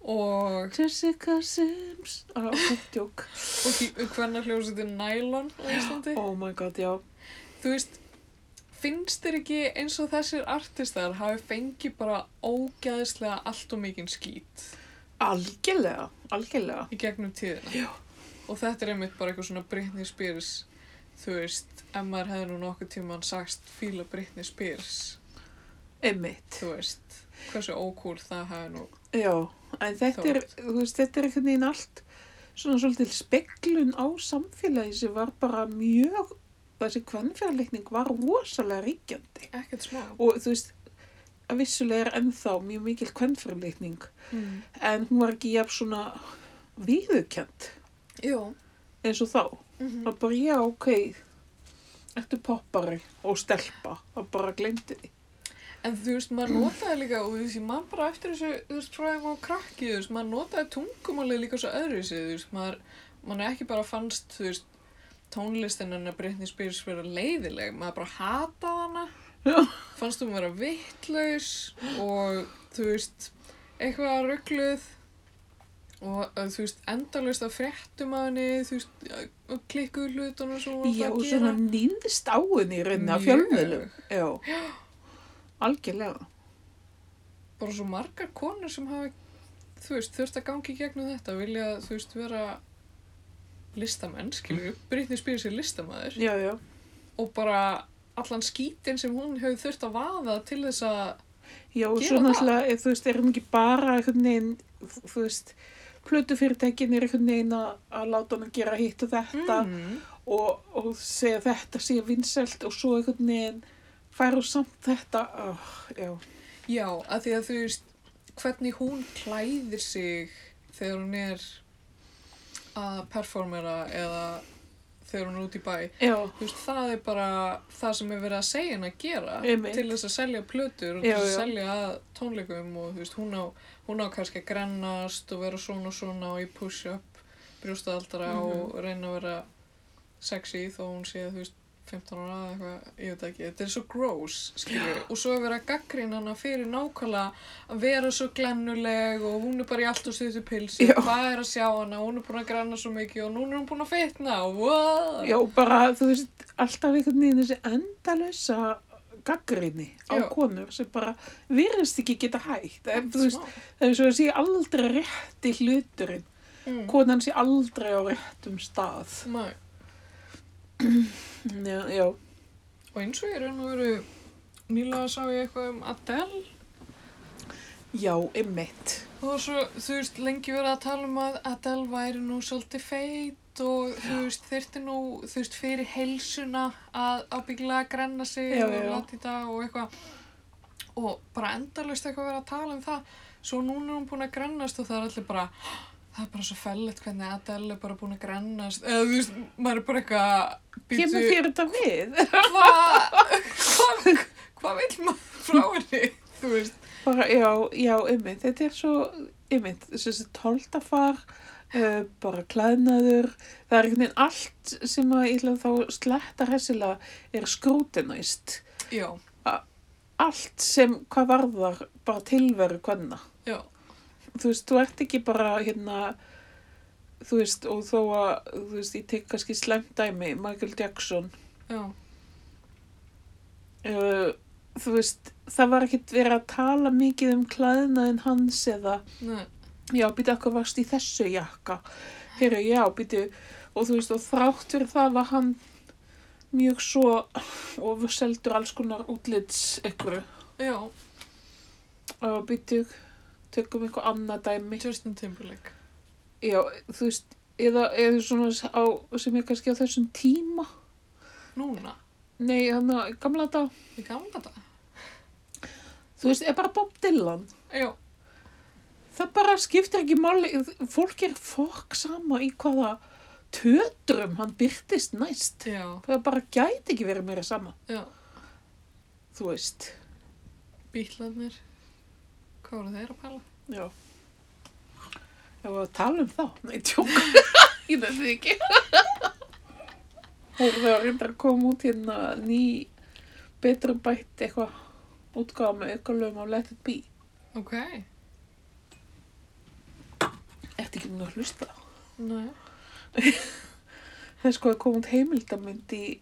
og, Jessica Sims. Ah, ok, djók. og hvernig hljóðsettir Nylon á Íslandi. Oh my god, já. Þú veist, finnst þér ekki eins og þessir artistar hafi fengið bara ógæðislega allt og mikinn skít Algjörlega, algjörlega. í gegnum tíðina? Já. Og þetta er einmitt bara eitthvað svona Britney Spears, þú veist, ef maður hefði nú nokkuð tíman sagt fíla Britney Spears, Emmitt. þú veist, hversu ókúl það hefði nú Já, en þetta er, þú veist, þetta er einhvern veginn allt svona svolítið speklun á samfélagi sem var bara mjög, þessi kvennfjárleikning var rosalega ríkjandi. ekkert smá. Og þú veist, að vissulega er ennþá mjög mikil kvennfjárleikning, Mm. en hún var ekki jafn svona viðukjönd Jú. eins og þá. Mm Það bara, já, ok, ertu poppari og stelpa, það bara glemdi því. En þú veist, maður notaði líka, og þú veist, ég man bara eftir þessu, þú veist, frá þeim á krakki, þú veist, maður notaði tungumálið líka svo öðru sig, þú veist, maður, maður ekki bara fannst, þú veist, tónlistin hennar Britney Spears vera leiðileg, maður bara hataði hana, Já. fannst hún vera vittlaus og, þú veist, eitthvað ruggluð og, uh, þú veist, endalust að fréttum að henni, þú veist, uh, klikkuð hlutunum svo hún Já, var og að svona gera. nýndist á henni í rauninni af Mjög. fjölmiðlum. Já, algjörlega. bara svo margar konur sem hafa þú veist, þurft að gangi gegnum þetta vilja, þú veist, vera listamenn, skilju Britney Spears er listamaður Já, já. og bara allan skítinn sem hún hefur þurft að vaða til þess að Já, og Gera svo það. náttúrulega, eh, þú veist, er hún ekki bara einhvern veginn, þú- þú veist, plötufyrirtækin er einhvern veginn að, að láta hann að gera hitt og þetta mm, og, og segja þetta sé vinsælt og svo einhvern veginn færa samt þetta. Oh, já, já, að því að þú veist hvernig hún klæðir sig þegar hún er að performera eða þegar hún er út í bæ já, þú veist, það er bara það sem er verið að segja henn að gera Einmitt. til þess að selja plötur og Já, til þess já. að selja að tónleikum og þú veist, hún á, hún á kannski að grennast og vera svona og svona og í push-up brjóstaðaldara Mhm. og reyna að vera sexy þó hún sé þú veist 15 ára eða eitthvað, ég veit ekki, þetta er svo gross, skilju, og svo er verið að gaggrína hana fyrir nákvæmlega að vera svo glennuleg og hún er bara í allt og stuðu pilsi, Já. hvað er að sjá hana, hún er búin að granna svo mikið og núna er hún búin að fitna og what? Já, bara, þú veist, alltaf einhvern veginn þessi endalösa gaggrinni á Já. konur sem bara virðist ekki geta hægt. En, þú veist, Smá. það er svo að sé aldrei rétti hluturinn. Mm. Konan sé aldrei á réttum stað. Nei, Mm-hmm. Já, já. og eins og ég raun og veru nýlega sá ég eitthvað um Adele Já, einmitt. og það var svo, þú veist, lengi verið að tala um að Adele væri nú svolítið feit mat og þú veist, þurfti nú, þú veist, fyrir heilsuna að ábyggilega grenna sig Já, og já, já. latita og eitthvað og bara endalaust eitthvað verið að tala um það svo núna er hún búin að grennast og það er allir bara það er bara svo fellet hvernig Adele er bara búin að grennast eða þú veist, maður er bara eitthvað "Bíddu, Kemur þér þetta við? hvað hva, hva vill maður frá henni þú veist, Bara, já, já, ymmið, þetta er svo, ymmið, þessi tóltafar, uh, bara klæðnaður, það er einhvern veginn allt sem að ég ætla þá sletta hessilega er skrútinæst. já, Allt sem, hvað varðar, bara tilveru hvenna. já Þú veist, þú ert ekki bara hérna, þú veist, og þó að, þú veist, ég tek kannski slæmt dæmi, Michael Jackson, já, uh, þú veist, það var ekkit verið að tala mikið um klæðnaðin hans eða nei, já, býtu, hvað varst í þessu jakka? Heyrðu, já, býtu, og þú veist, og þrátt fyrir það var hann mjög svo og seldur alls konar útlits ykkur. já, Og býtu, tökum einhver annað dæmi. Justin Timberlake Já, þú veist, eða, eða svona á, sem er kannski á þessum tíma. núna, Nei, hann að gamla dag. í gamla dag Þú veist, er bara Bob Dylan. já, Það bara skiptir ekki máli, fólk er fokk sama í hvaða tötrum hann byrtist næst. já, Það bara gæti ekki verið meira sama. já þú veist. bílarnir hvað voru þeir að pæla? Já. Ef við tala um þá, nei, tjók, ég nefndi því ekki. Og það var reyndar að koma út hérna ný, betra bætt eitthvað, útgáða með aukalöfum á Let It Be. ok, Ertu ekki búin að hlusta þá? nei Það er sko að koma út heimildamynd í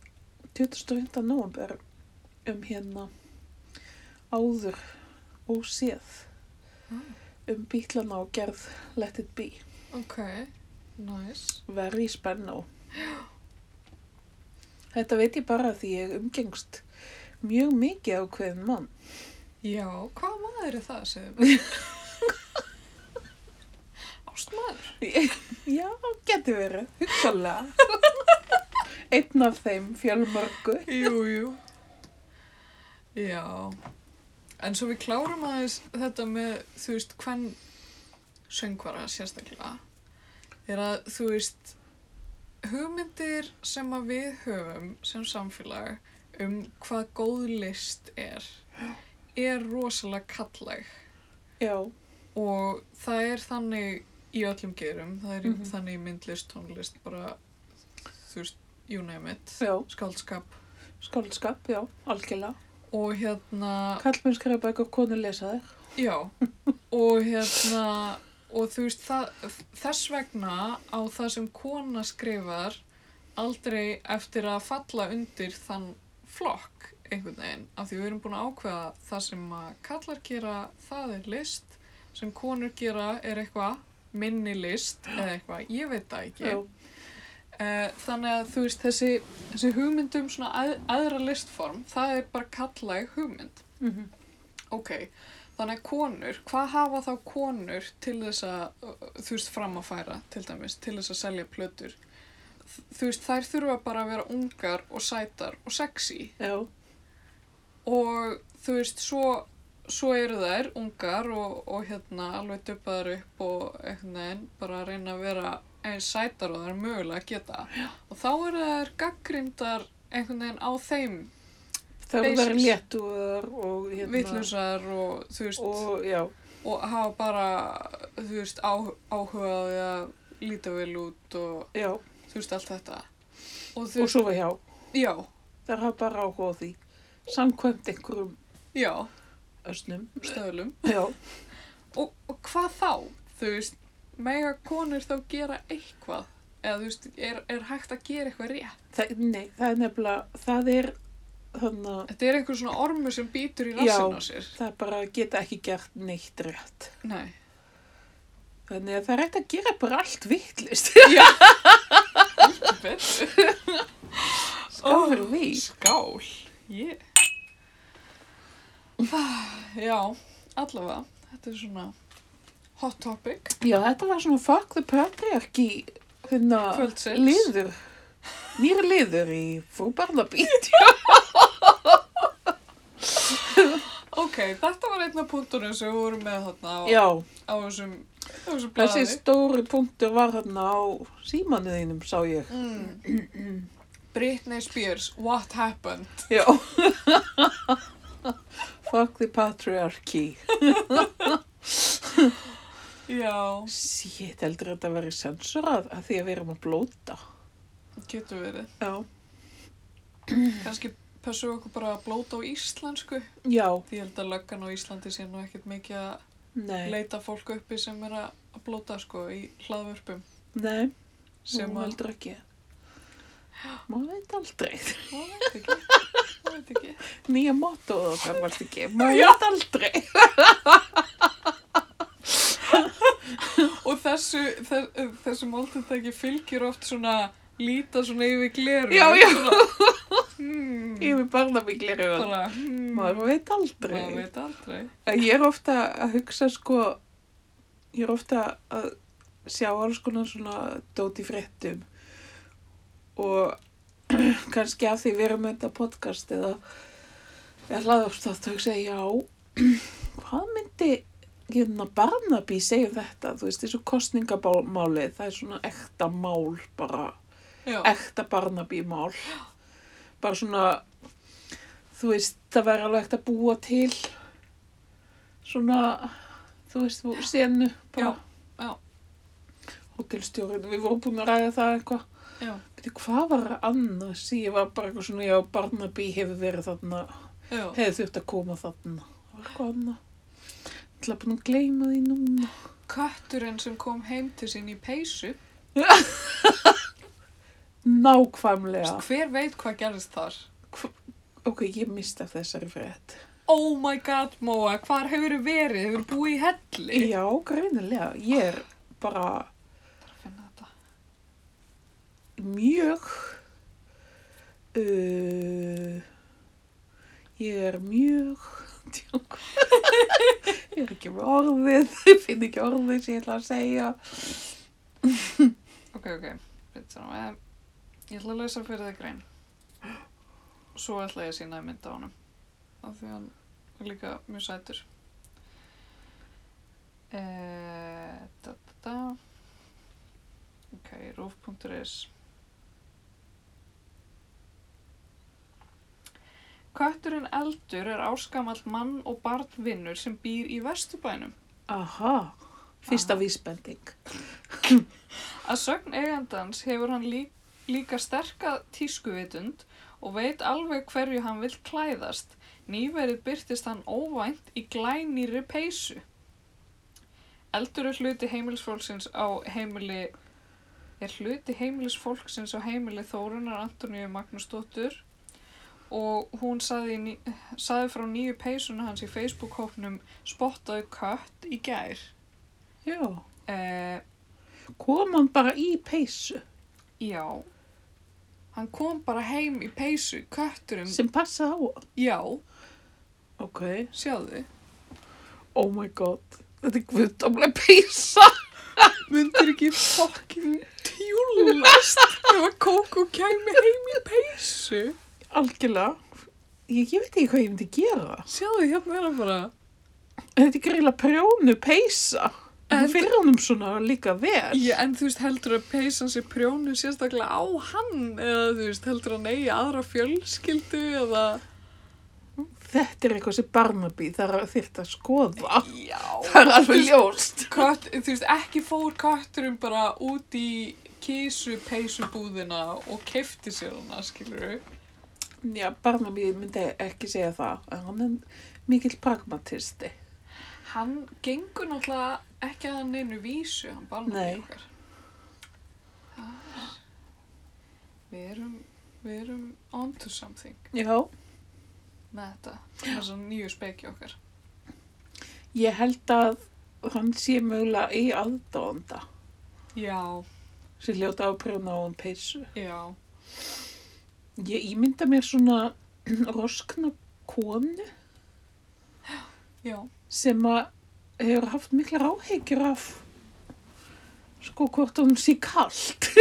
25. november um hérna áður óséð Mm. um bílana og gerð Let It Be. ok, nice Very spenno. Þetta veit ég bara því ég umgengst mjög mikið á hverjum mann. já, hvað maður er það sem ástmaður Já, getur verið, hugsalega. Einn af þeim fjölmörgu. jú, jú já en svo við klárum aðeins þetta með þú veist, hvern söngvara sérstaklega er að þú veist hugmyndir sem að við höfum sem samfélag um hvað góð list er er rosalega kallæg Já, og það er þannig í öllum gerum, það er Mhm. þannig í myndlist, tónlist, bara þú veist, you name it já, skáldskap skáldskap, já, algjörlega. og hérna Kallmenn skræpa eitthvað konu lesa þér. Já, og hérna, og þú veist, það, þess vegna á það sem kona skrifar aldrei eftir að falla undir þann flokk einhvern veginn, af því við erum búin að ákveða það sem að kallar gera, það er list, sem konur gera er eitthvað minni list eða eitthvað, ég veit það ekki. Já, Eh, þannig að þú veist þessi, þessi hugmynd um svona að, aðra listform, það er bara kallæg hugmynd. mm Ok, þannig að konur, hvað hafa þá konur til þess að, uh, þú veist, fram að færa, til dæmis, til þess að selja plötur? Þ- Þú veist, þær þurfa bara að vera ungar og sætar og sexy já, og þú veist, svo, svo eru þær ungar og, og hérna alveg döpaðar upp og einhvern veginn bara að reyna að vera eins sætar og þær mögulega geta og þá eru þær gaggrindar einhvern veginn á þeim það eru verið Basis. léttuðar og hérna. villusar og þú veist Og, já, og hafa bara, þú veist, á, áhuga á því að líta vel út og já, þú veist, allt þetta. Og þú og veist, svo var hjá. já, Það er bara áhuga á því. Samkvæmt einhverjum já, ösnum. stöðlum. Já. Og, og hvað þá? Þú veist, mega konur þá gera eitthvað? Eða þú veist, er, er hægt að gera eitthvað rétt? Það, nei, það er nefnilega, það er, þannig að Þetta er einhver svona ormur sem býtur í Já. rassinn á sér. það er bara að geta ekki gert neitt rétt. Nei. Þannig að það er rétt að gera bara allt vittlist. Betur. Skál fyrir því. Skál. Yeah. Ah, Já, allavega. Þetta er svona hot topic. Já, þetta var svona fuck the patriarchy hérna, Kvöldsins. liður, nýr liður í frú Barnaby. Ok, þetta var einn af punktunum sem við vorum með þarna á, Já, á þessum, á þessum þessi blaði. stóri punktur var hérna á símanuðinum, sá ég. Mm. Britney Spears, what happened? Já. Fuck the patriarchy. Já, Sét, heldur þetta að vera sensurað að því að við erum að blóta. getur verið. Já. Kanski pössum við okkur bara að blóta á íslensku. Já, Því ég held að löggan á Íslandi sé nú ekkert mikið að nei, leita fólk uppi sem er að að blóta sko í hlaðvörpum. nei, Sem hún að, heldur ekki. Maður veit aldrei. maður veit ekki, maður veit ekki. Nýja mótóð okkar varst ekki. Maður veit aldrei. Og þessu, þess, þessu máltendæki fylgir oft svona líta svona yfir gleru. Já, já. Svona, hmm, Yfir barnabíklir auðvitað. bara, hmm, Maður veit aldrei. maður veit aldrei. Ég er ofta að hugsa sko, ég er ofta að sjá alls konar svona dót í fréttum og kannski af því við erum með þetta podcast eða ég hlaði ofta að þau segja já, hvað myndi hérna Barnaby segja um þetta, þú veist, þessu kostningamáli, það er svona ekta mál bara Já, ekta Barnaby-mál. Bara svona, þú veist, það væri alveg ekta að búa til svona, þú veist, þú senu bara. Já, já. Hótelstjórinn, við vorum búin að ræða það eitthvað. já, Veitir, hvað var annars? Ég var bara eitthvað svona, já, Barnaby hefur verið þarna, já. hefur þurft að koma þarna. Það var eitthvað annað. Ég ætla búin að gleyma því núna. Kötturinn sem kom heim til sín í peysu, Nákvæmlega. hver veit hvað gerðist þar? Ok, ég mista þessari frétt. Oh my god, Móa, hvar hefur verið? Hefur búið í helli? Já, greinilega. Ég er bara... Finna þetta. mjög uh, ég er mjög djók ég er ekki með orðið ég finn ekki orðið sem ég ætla að segja Ok, ok, betur nú. em, Ég ætla að lesa fyrir það grein. Svo ætla ég að sína að mynda á honum. Af því hann er líka mjög sætur. E, da, da, da. Ok, rúf.is Kötturinn Eldur er áskamall mann og barnvinnur sem býr í Vesturbænum. aha, fyrsta vísbending Að sögn eigandans hefur hann lí, líka sterka tískuvitund og veit alveg hverju hann vill klæðast. Nýverið byrtist hann óvænt í glænýri peysu. Eldur er hluti heimilisfólksins á heimili er hluti heimilisfólksins á heimili Þórunar Antoníu Magnúsdóttur og hún saði, í ný- saði frá nýju peysuna hans í Facebook-hóknum Spottaðu kött í gær. já, Eh, kom hann bara í peysu Já. Hann kom bara heim í peysu, kötturinn. sem passaði á hann Já, ok, sjáðu. oh my god þetta er guðdómlega peysa Myndir ekki fokkin tjúlast ef að Kókó kæmi heim í peysu. algjörlega ég, ég veit ekki hvað ég myndi gera Sjáðu, hérna er hann bara. þetta er greila prjónu peysa en En- fyrir honum svona líka vel Já, en þú veist, heldur að peysan sé prjónu sérstaklega á hann eða þú veist, heldur að neyja aðra fjölskyldu eða... Þetta er eitthvað sem Barnaby þarf að þyrta að skoða. Já. Það er alveg ljóst. Kött, þú veist, ekki fór kötturinn bara út í kísu peysubúðina og kefti sér hana, skilur við. Já, Barnaby myndi ekki segja það, en hann er mikill pragmatisti. Hann gengur náttúrulega ekki að hann einu vísu, hann bara Nei. náttúrulega okkar. Það er- Við erum, við erum onto something Já. með þetta, með þessa nýju speki okkar. Ég held að hann sé mögulega í aðdónda Já, sem hljóta á prjóna á hann peysu. já, Ég ímynda mér svona roskna konu já, sem að hefur haft mikla ráhegjur af sko hvort hún sé kalt.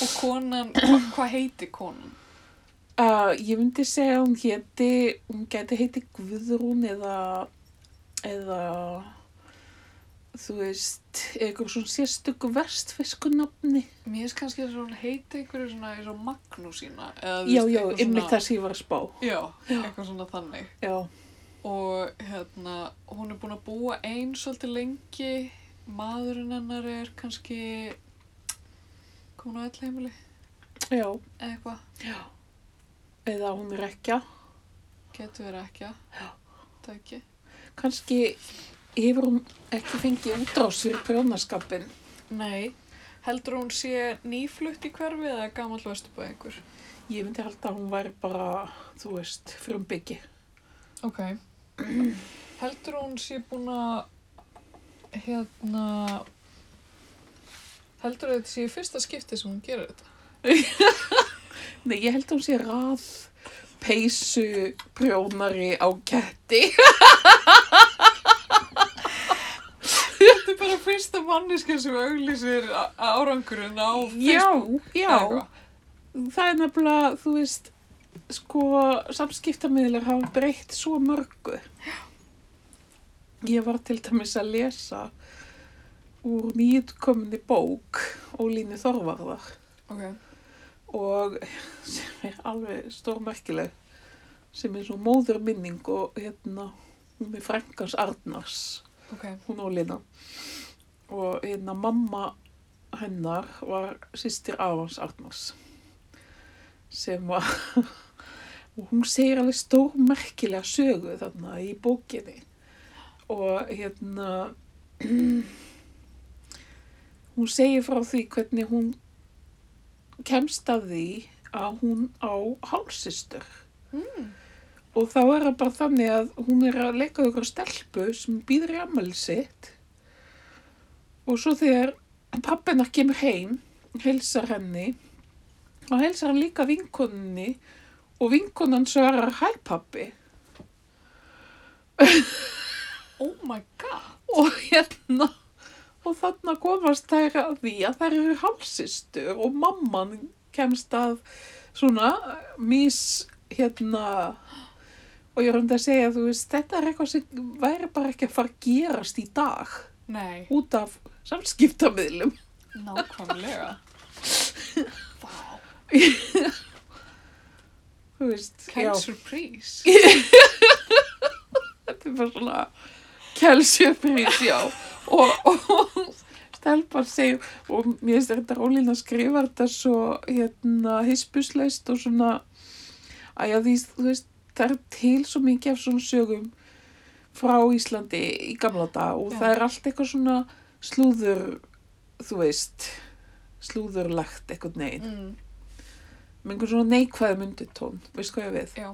Og konan, hva, hvað heiti konan? Uh, ég myndi segja að hún héti, hún geti heiti Guðrún eða, eða, þú veist, eitthvað svona sérstöku vestfiskunafni. Mér finnst kannski að hún heiti einhverju svona eins og Magnúsína. eða þú Já, veist, já, eitthvað ymmið svona- það sem ég var að spá. Já, eitthvað svona þannig. Já, Og hérna, hún er búin að búa einn svolítið lengi. Maðurinn hennar er kannski komin á ætlaheimili já, eða eitthvað. eða hún er ekki. Getur verið ekki að. Það ekki. Kanski hefur hún ekki fengið útrás fyrir prjónaskapin. Nei. Heldur hún sé nýflutt í hverfi eða gamall vesturbæ einhver? Ég myndi halda að hún væri bara, þú veist, frumbyggi. Ok. Heldur hún sé búin að, hérna, heldur þetta sé í fyrsta skipti sem hún gerir þetta? Nei, ég held að hún sé rað, peysu, prjónari á ketti. Þetta er bara fyrsta manniska sem auglýsir a- árangurinn á Já, Facebook. eða já. eitthvað. Það er nefnilega, þú veist, sko, samskiptamiðlar hafa breytt svo mörgu. Ég var til dæmis að lesa úr nýtkominni bók Ólínu Þorvarðar Ok. og sem er alveg stórmerkileg sem er svo móður minning og hérna, hún er frænkans Arnars, Ok. hún Ólína og hérna mamma hennar var sýstir Arans Arnars sem var og hún segir alveg stórmerkilega sögu þarna í bókinni og hérna hún segir frá því hvernig hún kemst að því að hún á hálsistur Mm. og þá er það bara þannig að hún er að leika ykkur stelpu sem býður í ammæli sitt og svo þegar pappinar kemur heim heilsar henni og heilsar hann líka vinkonunni og vinkonan svarar hæ pappi Oh my god. og hérna og þarna komast þær að því að þær eru hálsistur og mamman kemst að svona mis hérna og ég er um þetta að segja þú veist þetta er eitthvað sem væri bara ekki að fara að gerast í dag Nei, út af samskiptamiðlum nákvæmlega. Vá. þú veist já, Kind surprise. þetta er bara svona kelsjöprís já og, og stelpan segir og mér finnst þetta rólinn að skrifa þetta svo hérna hispuslaust og svona að já því þú veist það er til svo mikið af svona sögum frá Íslandi í gamla dag og Já. það er allt eitthvað svona slúður þú veist slúðurlegt eitthvað neginn Mm. með einhvern svona neikvæðum undirtón veist hvað ég á við Já,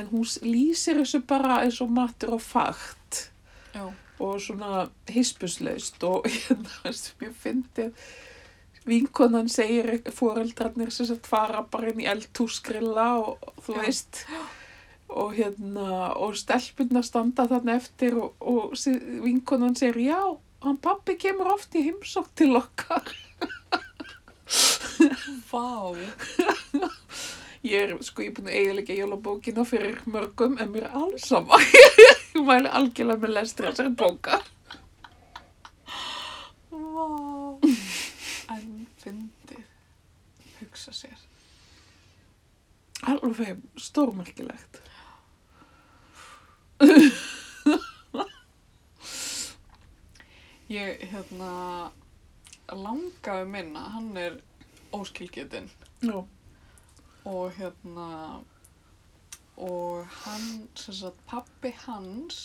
en hún s- lýsir þessu bara eins og matur og fakt já. og svona hispuslaust og hérna sem ég fyndi vinkonan segir fóreldrarnir sem sagt fara bara inn í eldhúsgrilla og þú Já. veist og hérna og stelpunna standa þannig eftir og, og se- vinkonan segir já hann pappi kemur oft í heimsók til okkar Vá. ég er sko ég er búin að eiginlega jólabókina fyrir mörgum en mér er alls sama ég mæli algjörlega með lestur þessari bóka Vá. En fyndið. Hugsa sér. alveg stórmerkilegt Ég, hérna, langaði minna, hann er óskilgetinn já og hérna, og hann, sem sagt, pappi hans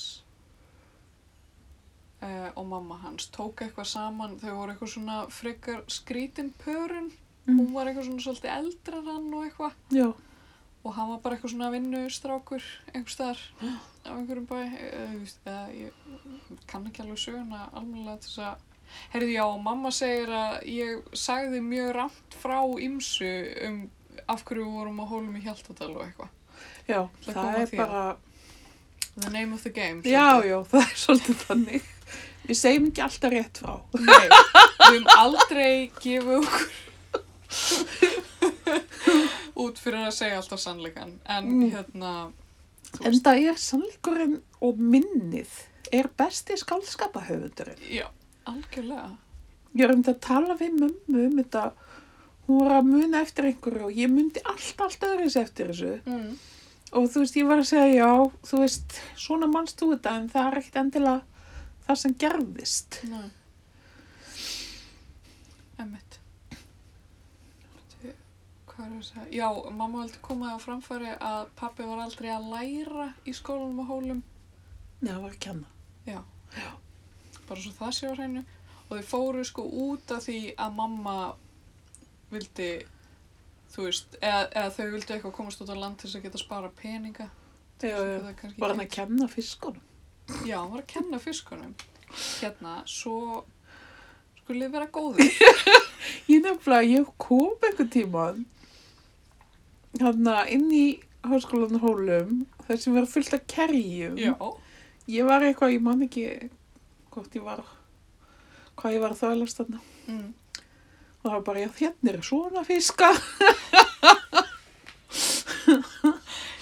eh, og mamma hans tók eitthvað saman, þau voru eitthvað svona frekar skrítin pörun, Mm. hún var eitthvað svona svolítið eldra en hann og eitthvað já og hann var bara eitthvað svona vinnustrákur einhvers staðar á einhverjum bæ eh, þú veist, eða ég kann ekki alveg söguna almennilega til þess að heyrðu já, og mamma segir að ég sagði mjög rámt frá ymsu um af hverju við vorum á hólum í Hjaltadal og eitthvað Já, Það það, kom að er því, já. bara, the name of the game já, já, það er svolítið þannig. Við segjum ekki alltaf rétt frá. Nei, við höfum aldrei gefið okkur út fyrir að segja alltaf sannleikan. En Mm. hérna, En það er sannleikurinn og minnið er besti skálskapahöfundurinn. já, algjörlega. Ég er um þetta að tala við mömmu um þetta. Hún var að muna eftir einhverju og ég myndi allt, allt öðris eftir þessu. Mm. Og þú veist, ég var að segja já, þú veist, svona manst þú þetta en það er ekkert endilega það sem gerðist. Nei. Emmitt. Hvað er þess að, já, mamma vildi koma á framfæri að pappi var aldrei að læra í skólanum og hólum. Nei, það var ekki hana. bara svo það sé á hreinu og þau fóru sko út af því að mamma vildi þú veist, eða, eða þau vildi eitthvað komast út á land til þess að geta spara peninga Já, já. Var hann að... að kenna fiskunum? já, hann var að kenna fiskunum hérna, svo skulið vera góðir Ég nefnilega, ég kom einhvern tíman hann inn í háskólan hólum þar sem var fullt af kerjum. já, Ég var eitthvað, ég man ekki hvort ég var, hvað ég var að þvælast þarna. mm. Og það var bara, já, hérna er svona fiska.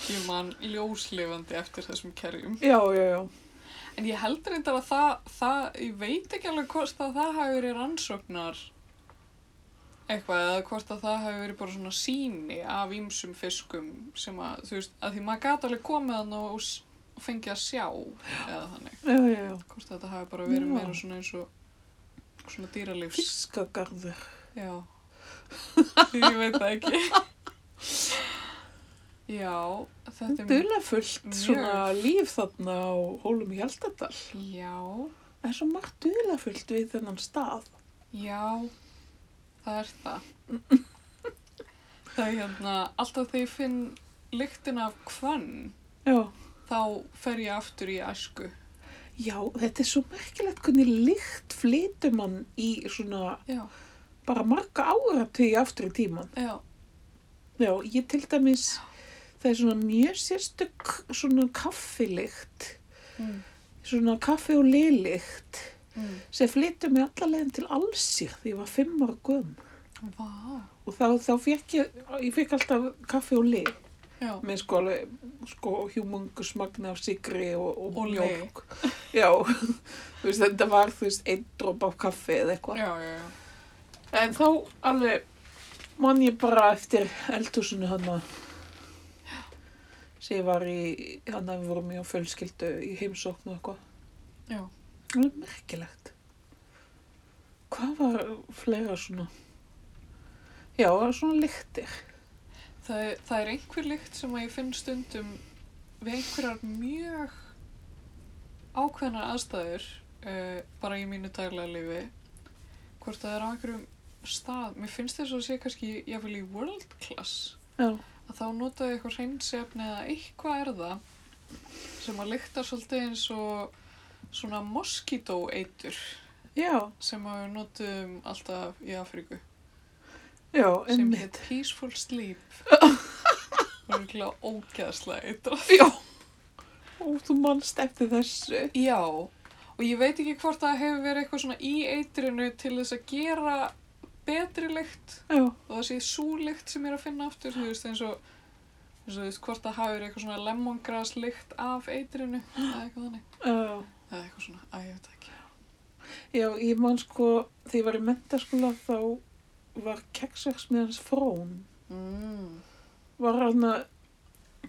ég man ljóslifandi eftir þessum kerjum Já, já, já. en ég held reyndar að það, það ég veit ekki alveg hvort að það hafi verið rannsóknar eitthvað eða hvort að það hafi verið bara svona síni af ýmsum fiskum sem að, þú veist, að því maður gæti alveg komið hann og, s- og fengið að sjá eða þannig, Já, já, já. hvort að þetta hafi bara verið Já. meira svona eins og svona dýralífs Fiskagarður. já því ég veit það ekki já, þetta er Dula fullt mjög- svona líf þarna á Hólum í Hjaldadal. já, Það er svo margt dula fullt við þennan stað. Já, það er það. það er hérna, alltaf þegar ég finn lyktin af hvönn, Já. þá fer ég aftur í æsku. Já, þetta er svo merkilegt hvernig lykt flytur mann í svona Já, bara marga áratugji aftur í tíman. já, Já, ég til dæmis, það er svona mjög sérstök svona kaffilykt, mm. svona kaffi og lilykt Mm. sem flytur mig allalegin til allsýr því ég var fimm ára göm. vá, Og þá, þá fekk ég, ég fekk alltaf kaffi og lit. já, með sko alveg sko humungus magna af sigri og, og, Og mjólk. Já, þú veist þetta var þú veist einn drop af kaffi eða eitthvað. já, já, já, En þá alveg man ég bara eftir eldhúsinu hana sem ég var í, hana við vorum í á fjölskyldu í heimsóknu og eitthvað. já. Alveg merkilegt. Hvað var fleira svona? Já, það var svona lyktir. Það, er- það er einhver lykt sem að ég finn stundum við einhverjar mjög ákveðnar aðstæður, uh, bara í mínu daglega lifi, hvort það er á einhverjum stað. Mér finnst þess að sé kannski, ég vil í world class. Já, að þá notaðu eitthvað hreinsefni eða eitthvað er það sem að lykta svolítið eins og svona moskító eitur já, sem að við notum alltaf í Afríku já, sem einmitt. heit Peaceful Sleep og er ekki ógeðslega eitra Já. Ó, þú manst eftir þessu. Já, og ég veit ekki hvort það hefur verið eitthvað svona í eitrinu til þess að gera betri lykt Já. og það sé súlykt sem ég er að finna aftur, þú veist, eins og eins og þú veist hvort það hafi verið eitthvað svona lemongrass lykt af eitrinu eða eitthvað þannig, Já. eða eitthvað svona, að ég veit það ekki Já, ég man sko, þegar ég var í mentaskóla þá var keksverksmiðans frón. mm. Var hann að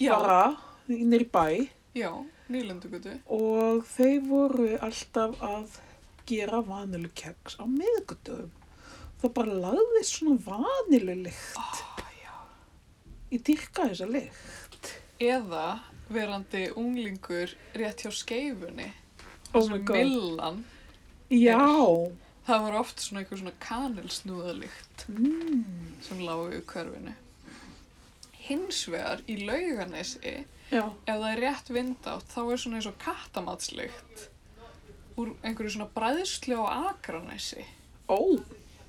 Já, bara nýr bæ já, nýlendugutu og þeir voru alltaf að gera vanilu keks á miðgutum. Það bara lagðist svona vanilulykt. Ég dyrka þessa lykt. eða verandi unglingur rétt hjá skeifunni Oh þar sem millan, Já. það var oft svona eitthvað svona kanilsnúðalykt Mm. sem lágu í hverfinu hins vegar í lauganesi Já. ef það er rétt vindátt þá er svona eins og kattamatslykt úr einhverju svona bræðslu á akranæsi. Ó,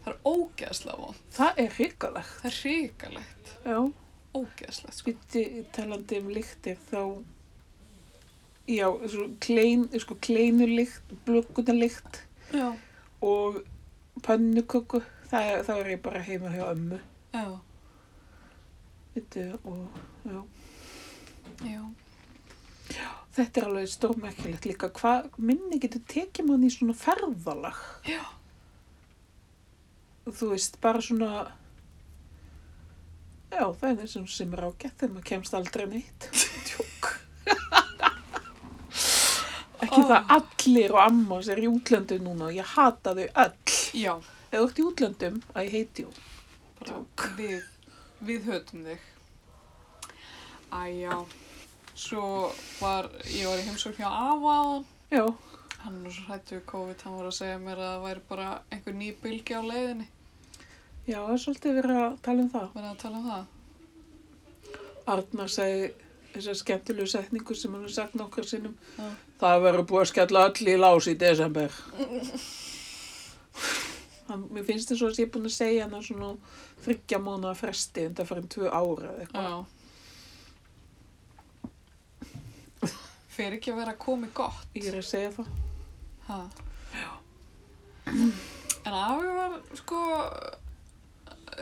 Það er ógeðslega von. það er hrikalegt. Það er hrikalegt. Já. Ógeðslegt, sko. Býtti talandi um lyktir þá já, svo klein, sko kleinulikt, blökkunarlikt Já, og pönnuköku. Það, er- þá er ég bara heima hjá ömmu. já, Veitu, og, já. já. Þetta er alveg stórmerkilegt líka. Hvað minni getur tekið mann í svona ferðalag? Já. Þú veist, bara svona... Já, það er þessum sem er ágætt þegar maður kemst aldrei neitt. Tjók. Ekki Ó. það allir og amma sem er í útlöndum núna og ég hata þau öll. Já, Ef þú ert í útlöndum, að ég heiti jú. Tjók. við, við höfum þig. Æjá, svo var, ég var í heimsókn hjá afa á hann. Já, Hann er nú svo hrættu við COVID, hann var að segja mér að það væri bara einhver ný bylgi á leiðinni. já, það er svolítið verið að tala um það. Verðið að tala um það? Arnar segi þessa skemmtilegu setningu sem hann hefur sagt nokkar sinnum. Já. Það verður búið að skella öll í lás í desember. hann, mér finnst þess að ég er búin að segja hann að svona þryggja mánuða fresti undan fyrir tvö ára eða eitthvað. Já. Fer ekki að vera komið gott. Ég er að segja það. Ha. En afi var sko uh,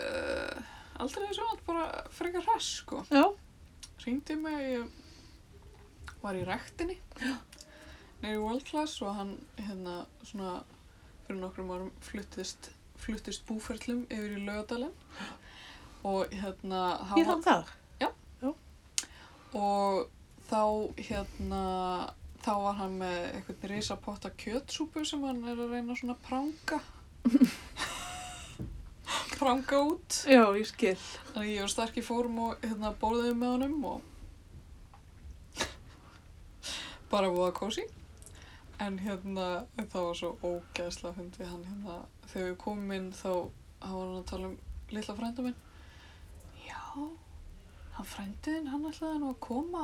aldrei eins og allt bara frekar hræs sko. Já, Ringdi mig, ég var í rektinni neyri í World Class og hann hérna svona fyrir nokkrum árum fluttist, fluttist búferlum yfir í Laugardalinn og hérna hann ég er var- hann þar. og þá hérna þá var hann með einhvern risapott af kjötsúpu sem hann er að reyna svona að pranga pranga út Já, ég skil. þannig að ég var sterk í fórum og hérna borðið með honum og bara voða kósi en hérna það var svo ógæðslega fundið hann hérna þegar við komum inn þá þá var hann að tala um litla frænda minn já hann frændiðin hann ætlaði nú að koma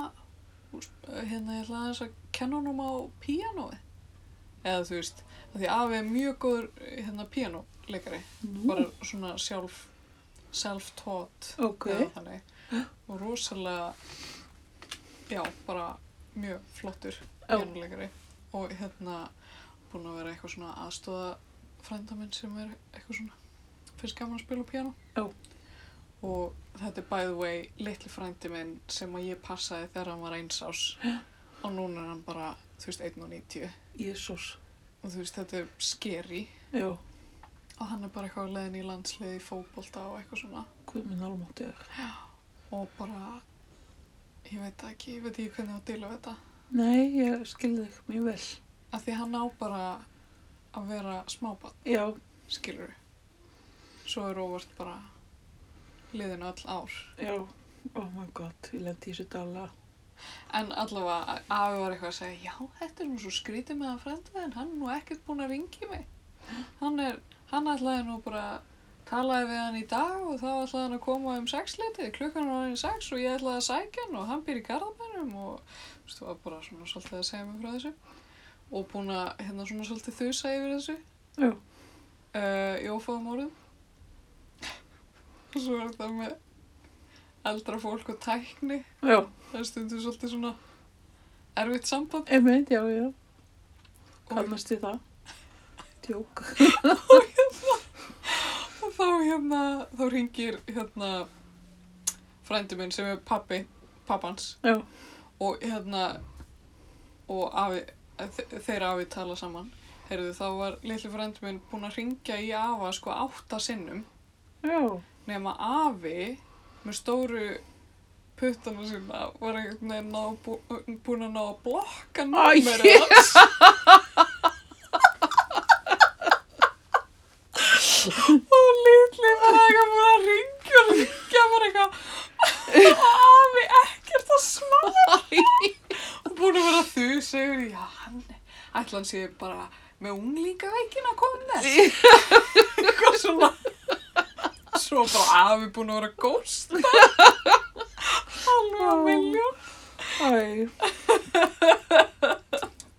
úst, hérna ég ætlaði þess að kenna honum á píanóið eða þú veist af því afi er mjög góður hérna píanóleikari Nú, bara svona sjálf self-taught ok. eða þannig. og rosalega já, bara mjög flottur Já. píanuleikari og hérna búin að vera eitthvað svona aðstóða frænda minn sem er eitthvað svona fyrst gaman að spila á píano Já. og þetta er by the way litli frændi minn sem að ég passaði þegar hann var eins ás og núna er hann bara, þú veist, 1.90 Jésús. og þú veist, þetta er scary Já, og hann er bara eitthvað á leiðin í landslið í fótbolta og eitthvað svona hvað minn almáttuður. og bara ég veit það ekki, ég veit ekki hvernig á að díla við þetta Nei, ég skil þig mjög vel. af því hann á bara að vera smábann, Já, skilur við svo er óvart bara liðinu öll ár já. Oh my god, ég lendi í þessu dala. en allavega afi var eitthvað að segja já, þetta er nú svo skrítið með að frenda þinn hann er nú ekkert búinn að ringi mig hann, er, hann ætlaði nú bara talaði við hann í dag og þá ætlaði hann að koma um sexleitið, klukkan var hann í sex og ég ætlaði að sækja hann og hann býr í garðabænum og þú veist, það var bara svona svolítið að segja mig frá þessu og búin að hérna svona svolítið þusa yfir þessu Já. uh, í ófáðum orðum og svo er þetta með eldra fólk og tækni Já, það er stundu svolítið svona erfitt samband einmitt, já, já. og, Kannast þið það? Tjók. og þá hérna þá ringir hérna frændi minn sem er pappi pappans Já. og hérna og afi, þe- þeir afi tala saman heyrðu þá var litli frændi minn búinn að ringja í afa sko átta sinnum Já. nema afi með stóru puttana sína var einhvern veginn ná, bú, búin að ná að blokka númerið Æ, hans og litli var eitthvað búin að ringja og ringja bara eitthvað afi ekkert að smá og búin að vera þú segur já hann ætla hann sé bara með unglingaveikin að koma þess eitthvað svona Svo bara afi búin að vera góst Alveg að Já. miljón Æ.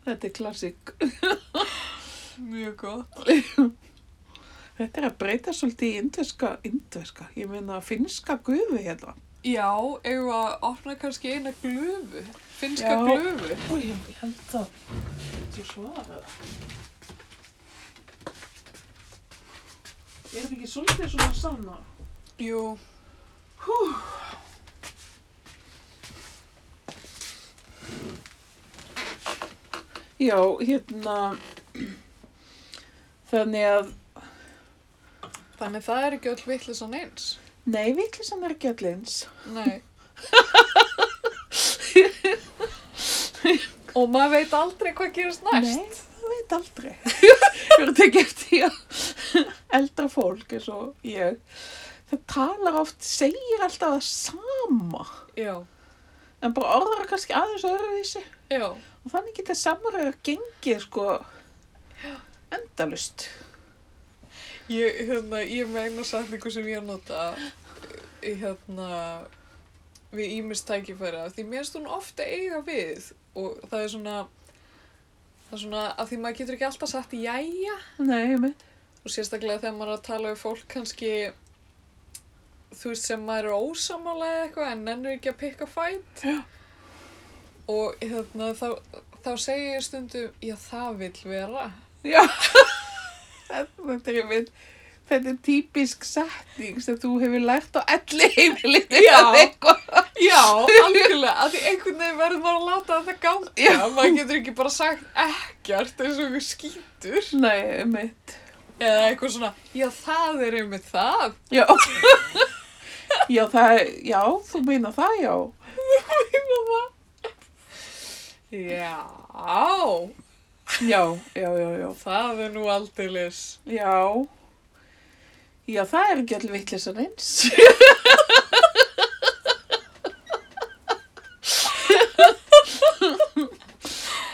Þetta er klassik. Mjög gott Þetta er að breyta svolítið í indverska, indverska, ég meina finnska guði hérna. Já, eigum við að opna kannski eina glöfu, finska Já. glöfu. Új, ég held það. Þú svarar það. Er þetta ekki svolítið svona sanna? Jú, Já, hérna, þannig að, þannig það er ekki öll vittlisann eins. nei, viklísan er ekki allins. Nei. Og maður veit aldrei hvað gerast næst. Nei, það veit aldrei. Ég verður ekki eftir að eldra fólk eins og ég. Það talar oft, segir alltaf það sama, Já, en bara orðar það kannski aðeins öðruvísi. já, Og þannig geta samræður gengið, sko, endalust. ég, hérna, ég meina sætningu sem ég nota, eh, hérna, við ímist tækifæra, því mér finnst hún ofta eiga við og það er svona, það er svona að því maður getur ekki alltaf sagt jæja Nei, ég mynd. og sérstaklega þegar maður er að tala við fólk kannski, þú veist sem maður er ósamála eða eitthvað en nennir ekki að pikka fætt Já. og hérna þá, þá segi ég stundum, já það vill vera. Já, þetta er ég mynd. Þetta er típisk setning sem þú hefur lært á elli heimilinu. Já. eitthvað. Já, algjörlega, af því einhvern veginn verður maður að láta þetta ganga. Já. Maður getur ekki bara sagt ekkert eins og einhver skítur. Nei, ég mynd. Eða eitthvað svona, já það er einmitt það. Já. já, það, já, þú meina það, já. Meina það. Já, Já, já, já, já. það er nú aldeilis. Já. Já, það er ekki allir vitleysan eins.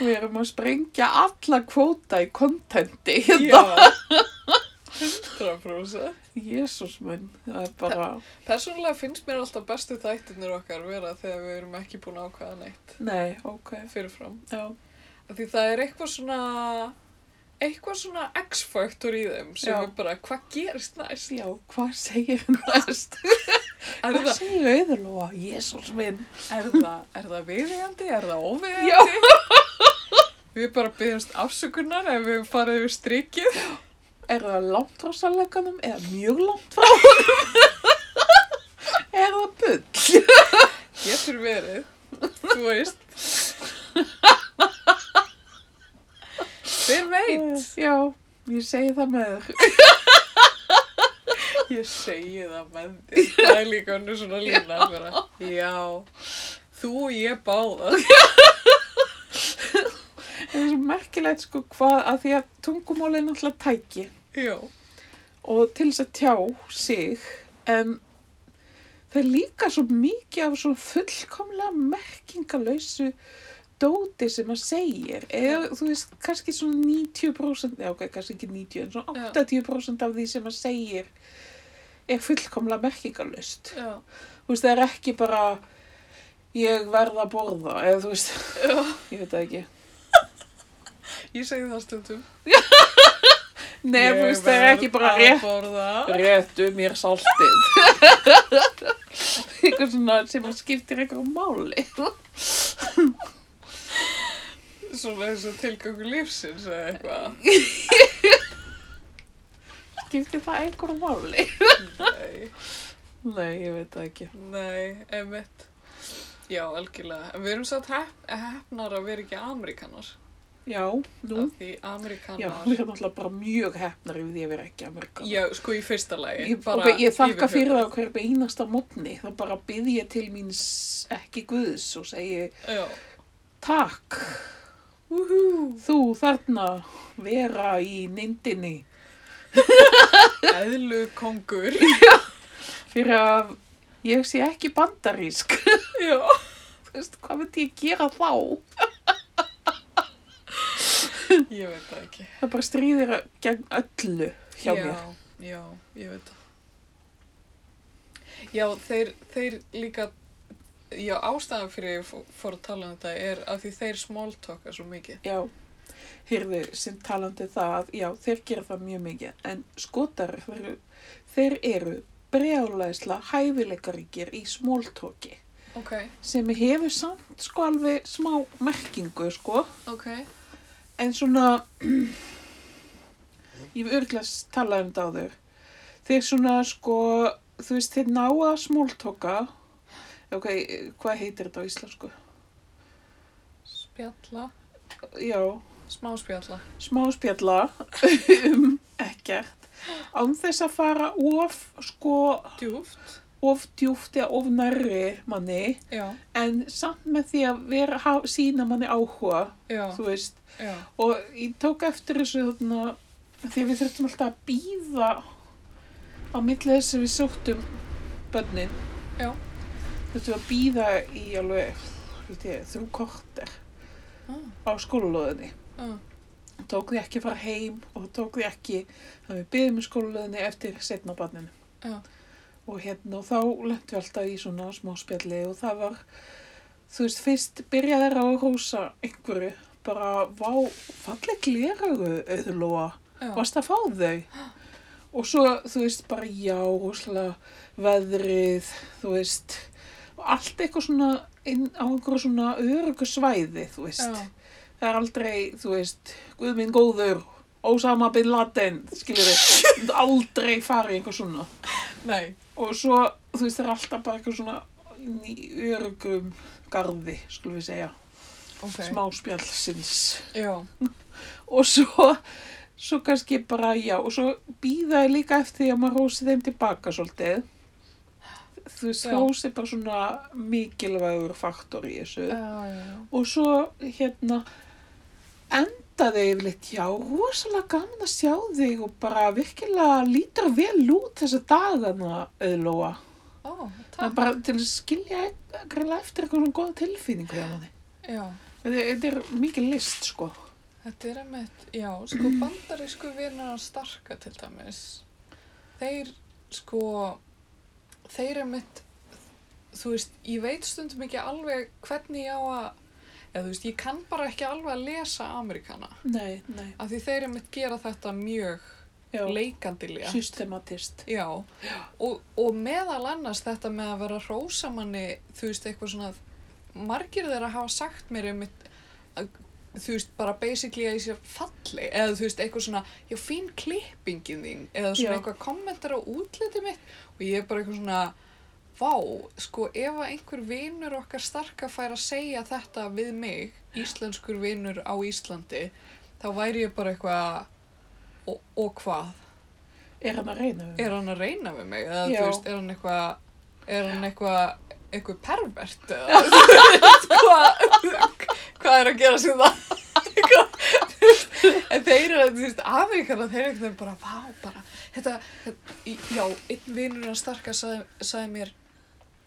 Við erum að sprengja alla kvóta í kontenti hérna. Já. 100%. Jésús minn, það er bara, Persónulega finnst mér alltaf bestu þættirnir okkar vera þegar við erum ekki búin að ákvaða neitt nei, ok, fyrirfram. já. Af Því það er eitthvað svona, eitthvað svona X-faktor í þeim sem Já. er bara, hvað gerist næst? Já, hvað segir næst? Er Hvað það, segir auðurlóa? Jésús minn. er það, er það viðeigandi, er það óviðeigandi? Já. Við bara byggjumst afsökunar ef við farið yfir strikið. Er það langt frá sannleikanum eða mjög langt frá honum? er það bull? Getur verið, þú veist. Hver veit? Eh, Já, ég segi það með þér. Ég segi það með þér. Það er líka önnur svona lína bara. Já, þú og ég báða. Það er svo merkilegt sko hvað að því að tungumál er náttúrulega tæki Já, og til þess að tjá sig en það er líka svo mikið af svo fullkomlega merkingalösu dóti sem maður segir eða þú veist kannski svona 90% eða ok, kannski ekki 90 en svona Já. 80% af því sem maður segir er fullkomlega merkingalöst já, þú veist það er ekki bara ég verð að borða eða þú veist, já. ég veit það ekki Ég segi það stundum. Nei, þú veist það er ekki bara Ég rétt verð að borða. réttu mér saltið eitthvað svona sem að skiptir eitthvað máli Svona eins og tilgangu lífsins eða eitthvað. skiptir það eitthvað máli Nei. nei, ég veit það ekki Nei, einmitt. Já, algjörlega. En Við erum satt hef, hefnar að vera ekki ameríkanar. já, nú Af því já, ameríkanar... við erum alltaf bara mjög hefnar yfir því að vera ekki Amerikan Já, sko í fyrsta lagi. ég, bara ok, ég þakka yfir fyrir það höfuð. á hverju einasta mótni þá bara byrð ég til mín s- ekki guðs og segi Já. takk Úhú. þú þarna vera í nindinni Eðlu kongur. fyrir að ég sé ekki bandarísk Já. Þú veist, hvað myndi ég gera þá? Ég veit það ekki. Það bara stríðir gegn öllu hjá já, mér. Já, ég veit það. Já, þeir, þeir líka... Já, ástæðan fyrir ég fó- fór að tala um þetta er af því þeir smáltokka svo mikið. Já, heyrðu, sem um talandi það, já, þeir gera það mjög mikið, en skotar, þeir, eru- þeir eru brjálæðisla hæfileikaríkir í smóltóki ok, sem hefur samt sko alveg smá merkingu sko ok, en svona ég hef örglas talað um þetta á þau þeir svona sko þú veist þeir ná að smóltóka ok, hvað heitir þetta á íslensku? spjalla, Já, smá spjalla, smá spjalla um ekkert án þess að fara of sko djúft, of djúft eða of nærri manni já, en samt með því að vera haf, sína manni áhuga já, þú veist já, og ég tók eftir þessu þarna því við þurftum alltaf að býða á milli þess að við sóttum bönnin Já. þurftum að býða í alveg held ég, þrjú korter ah, á skólalóðinni ah, tók því ekki að fara heim og tók því ekki að við byggðum í skólaðinni eftir setna barninu. Já. Og hérna og þá lentum við alltaf í svona smá spjalli og það var, þú veist, fyrst byrjaði þeirra á að rósa einhverju, bara, vá, falleg gleraðu, auðlóa, já, varst að fá þau? Og svo, þú veist, bara, já, rosalega, veðrið, þú veist, og allt eitthvað svona inn á einhverju svona örugu svæði, þú veist. já, Það er aldrei, þú veist, Guð minn góður, Ósama bin Laden, skilur þið, aldrei farið eitthvað svona. nei, Og svo, þú veist, það er alltaf bara eitthvað svona inn í örugum garði, skulum við segja, ok, okay. smáspjallsins. já, Og svo, svo kannski bara, já, og svo býða ég líka eftir því að maður rósi þeim tilbaka svolítið. Þú veist, Já. rósi er bara svona mikilvægur faktor í þessu. já, já, já, Og svo hérna endaði yfirleitt, já, rosalega gaman að sjá þig og bara virkilega lítur vel út þessa dagana, auðlóa. ó, Það er takk, bara til að skilja greinlega eftir eitthvað svona góða tilfinningu hjá manni. já. Þetta þetta er mikið list, sko. Þetta er einmitt, já, sko bandarísku vinnar starka til dæmis. Þeir, sko, þeir einmitt, þú veist, ég veit stundum ekki alveg hvernig ég á að, eða þú veist, ég kann bara ekki alveg að lesa Ameríkana. Nei, nei, Af því þeir einmitt gera þetta mjög já, leikandilega. systematist. Já, og, og meðal annars þetta með að vera rósamanni, þú veist, eitthvað svona, margir þeirra hafa sagt mér einmitt, að, þú veist, bara basically að ég sé falleg, eða þú veist, eitthvað svona, já, fín klippingin þín, eða svona Já. eitthvað kommentar á útliti mitt og ég er bara eitthvað svona, vá, sko, ef að einhver vinur okkar starka fær að segja þetta við mig, íslenskur vinur á Íslandi, þá væri ég bara eitthvað, og, og hvað? Er hann að reyna við? er hann að reyna við mig eða Já. þú veist, er hann eitthvað er hann eitthvað eitthvað pervert eða þú veist, hvað hvað er að gera sér það Eitthvað, þú veist, en þeir eru þú veist, Ameríkana, þeir eru einhvern veginn bara vá, bara, þetta, þetta í- já, einn vinur hann starka sagði, sagði mér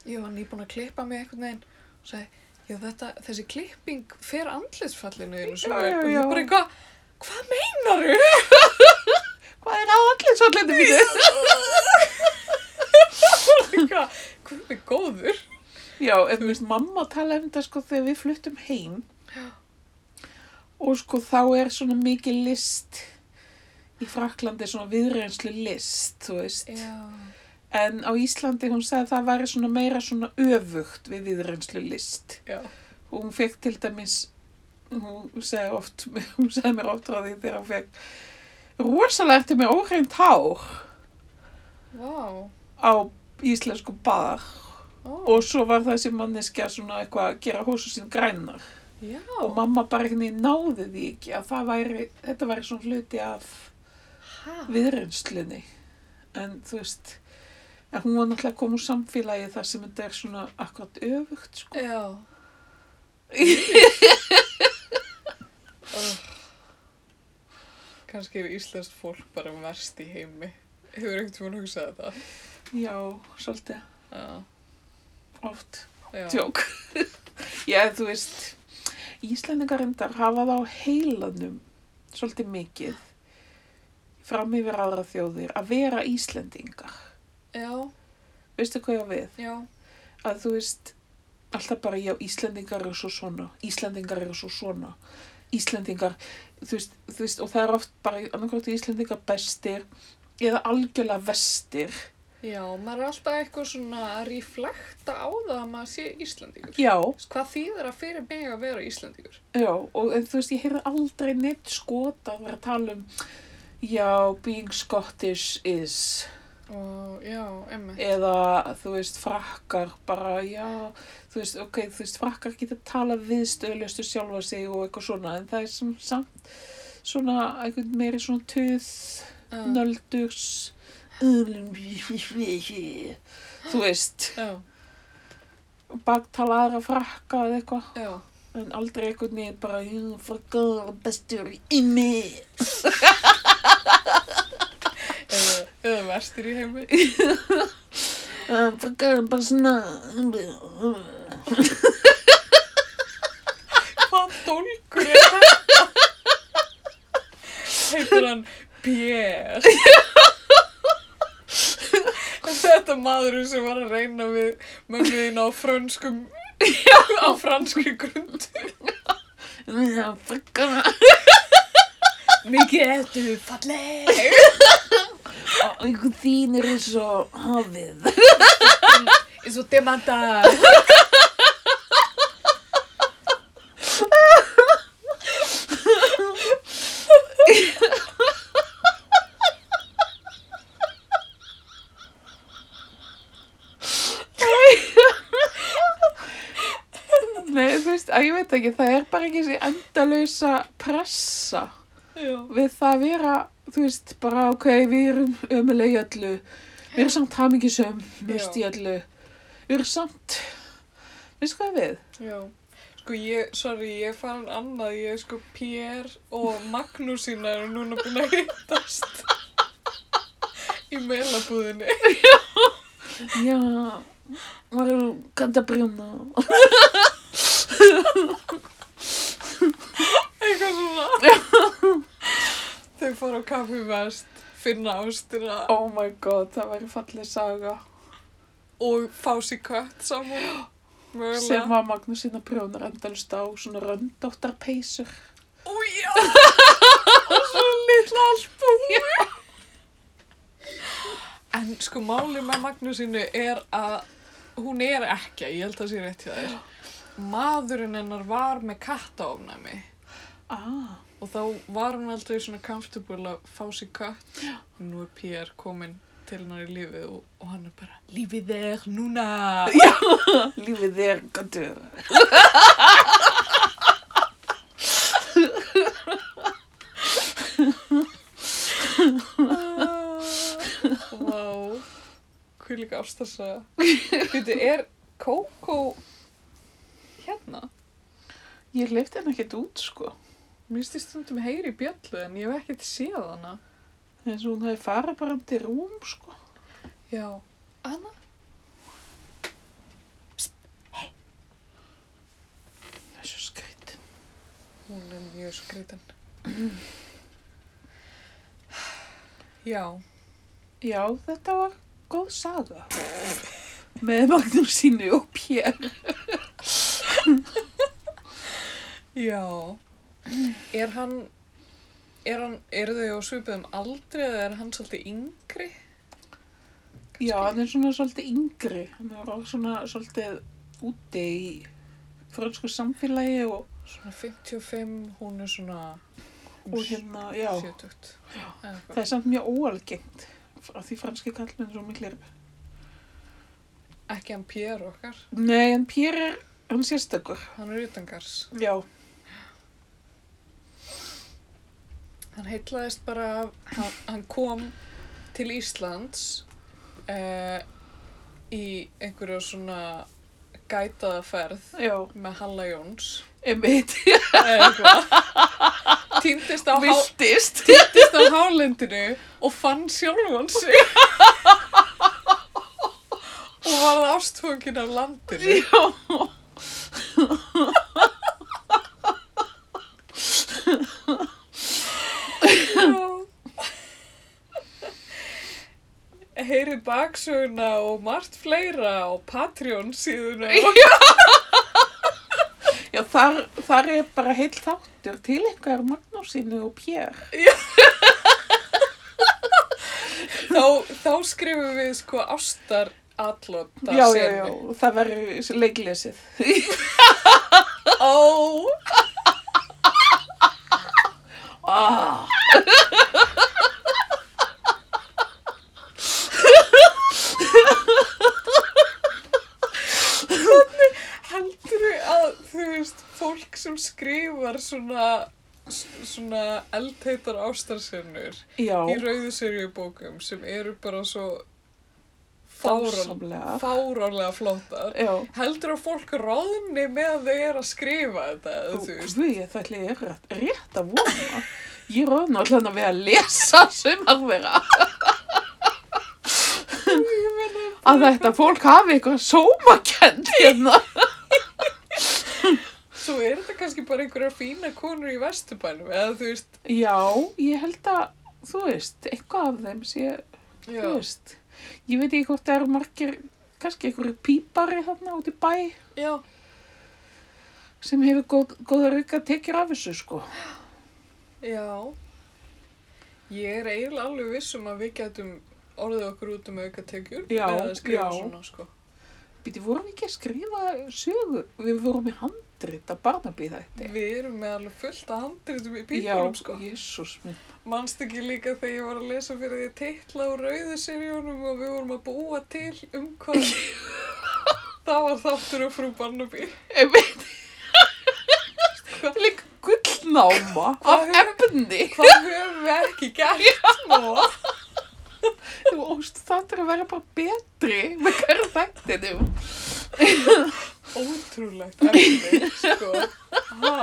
ég var nýbúin að klippa mig einhvern veginn og sagði, já, þetta, þessi klipping fer andlitsfallinu þínu svo Já, já, vel." og já. ég bara eitthvað, hvað meinaru? Hvað er á allir svo allir þetta? Hvað, hvað er góður? Já, en þú veist, mamma tala um þetta sko þegar við fluttum heim og sko þá er svona mikið list í Fraklandi svona viðreynslu list, þú veist. Já. En á Íslandi hún sagði að það væri svona meira svona öfugt við viðreynslu list. Já, Og hún fekk til dæmis, hún sagði, oft, hún sagði mér oft frá því þegar hún fekk rosalega ertu með óhreint hár vá, á íslensku baðar ó, og svo var þessi manneskja svona eitthvað að gera hósu sín grænar. já, og mamma bara einhvern veginn náði því ekki að það væri, þetta væri svona hluti af hæ, viðreynslunni en þú veist en hún var náttúrulega að koma úr samfélagi þar sem þetta er svona akkurat öfugt sko. já. Kanski er íslenskt fólk bara verst í heimi. Hefur einhvern tímann hugsað þetta? já, svolítið Já, oft, já. tjók já, þú veist Íslendingar endar hafa það á heilanum svolítið mikið fram yfir aðra þjóðir að vera Íslendingar Já, veistu hvað ég á við? já, að þú veist alltaf bara já, Íslendingar eru svo svona Íslendingar eru svo svona Íslendingar, þú veist, þú veist og það er oft bara annarkvæmt Íslendingar bestir eða algjörlega vestir Já, maður er alltaf eitthvað svona að reflekta á það að maður sé Íslandingur. Já, Þú veist, Hvað þýðir það fyrir mig að vera Íslandingur? já, og en, þú veist, ég heyrði aldrei neitt skot að vera að tala um Já, being Scottish is Og já, emmi. eða, þú veist, frakkar bara, já, þú veist, ok, þú veist, frakkar geta talað við stöðljöstu sjálfa sig og eitthvað svona, en það er sem samt svona, einhvern meiri svona töð, Uh, nöldurs, þú veist, já, baktala aðra frakka eða eitthvað, já. en aldrei einhvern veginn bara, "Jú, frakkar eru bestur í mig. Eða, eða verstir í heimi. Uh, frakkar eru bara svona, Hvað dólgur er þetta? Heitir hann Bjér. Þetta maður sem var að reyna við mömmuðin á frönskum, á franski grund. "Já, frakkar Mikið ertu falleg. og einhvern þín eru svo hafið. eins og demanda Nei, þú veist, að ég veit ekki, það er bara ekki þessi endalösa pressa við það að vera, þú veist, bara ok, við erum ömuleg í öllu, við erum samt hamingisöm, mest í öllu, við erum samt, veist hvað við? Já, sko ég, sorry, ég er farin annað, ég er sko Pér og Magnúsína eru núna búin að hittast í meilabúðinni. Já, maður kannt að brjóna. Eitthvað svona. Þau fara á kaffi vest, finna ástina Oh my god, það væri fallið saga og fá sér kött saman. sem Mögulega. var Magnúsína brjónar endalust á svona röndóttar peysur. Ó já, og svo litla albúi. En sko málið með Magnúsinu er að hún er ekki, ég held að sé rétt hjá þér. Maðurinn hennar var með kattaofnæmi Ah, og þá var hún aldrei svona comfortable að fá sér katt. Nú er P.R. komin til hennar í lífið og, og hann er bara Lífið er núna! lífið er göndur. Ah, Vá, hvað líka ástasa. Þetta er Kókó hérna? Ég leifti henni ekkert út, sko. Mér finnst ég stundum heyri í bjöllu en ég hef ekkert séð hana. eins og hún hafi farið bara um til rúm sko. Já. Anna? Það er svo skreitin. Hún er mjög skreitin. Já. Já, þetta var góð saga. Með Magnús sínu og Pér. Já. Er hann, er hann, eru þau á svipuðum aldri eða er hann svolítið yngri? Já, hann er svona svolítið yngri. Hann er á svona svolítið úti í frönsku samfélagi og, Svona 55, hún er svona... og hérna, já. 70. Eða Það eitthvað. er samt mjög óalgengt af því franski kallmenn er svo miklir. Ekki hann Pér okkar, Nei, en Pér er, hann er sérstakur. hann er utangars. Já, Hann heitlaðist bara af, hann, hann kom til Íslands eh, í einhverju svona gætaða ferð já, með Halla Jóns. emitt, eða eitthvað. Týndist á, há, viltist. týndist á hálendinu og fann sjálfan sig. og varð ástfókin af landinu. Já. Heyri baksöguna og margt fleira og Patreon síðuna. Já, þar, þar er bara heil þáttur til einhver Magnúsinu og Pér. þá, þá skrifum við sko ástar allota já, já, já, það verður leiklesið. Ó, Ah. heldur að þú veist, fólk sem skrifar svona svona eldheitar ástarsinnur Já, í rauðu seriubókum sem eru bara svo fáran, fásamlega. fáránlega flottar Já. heldur að fólk ráðni með að þau er að skrifa þetta Ó, eða þú veist Guð, ég ætla ég er rétt, rétt að vona. Ég ráðna allan að við að lesa sumarvera. að þetta fólk hafi eitthvað sómakend hérna. svo er þetta kannski bara einhverja fína konur í vesturbænum eða þú veist Já, ég held að, þú veist, eitthvað af þeim sé, já, þú veist, ég veit ekki hvort það eru margir, kannski einhverju pípari þarna út í bæ já, sem hefur góð, góða rauka tekjur af þessu, sko. já ég er eiginlega alveg viss um að við getum orðið okkur út um auka tekjur Já, með að skrifa já. svona sko Býti, vorum við ekki að skrifa sögu, við vorum í handrit að Barnaby þætti. við erum með alveg fullt að handritum í pípunum sko jésús minn. Manst ekki líka þegar ég var að lesa fyrir því titla úr rauðu seríunum og við vorum að búa til um hvað það var þáttur og frú Barnaby. Ég veit, líka gullnáma af Hvað efni. Hvað höfum við ekki gert sko? nú? Þú óst þáttur að vera bara betri með hverju þættinum. Ótrúlegt efni, sko. Ha?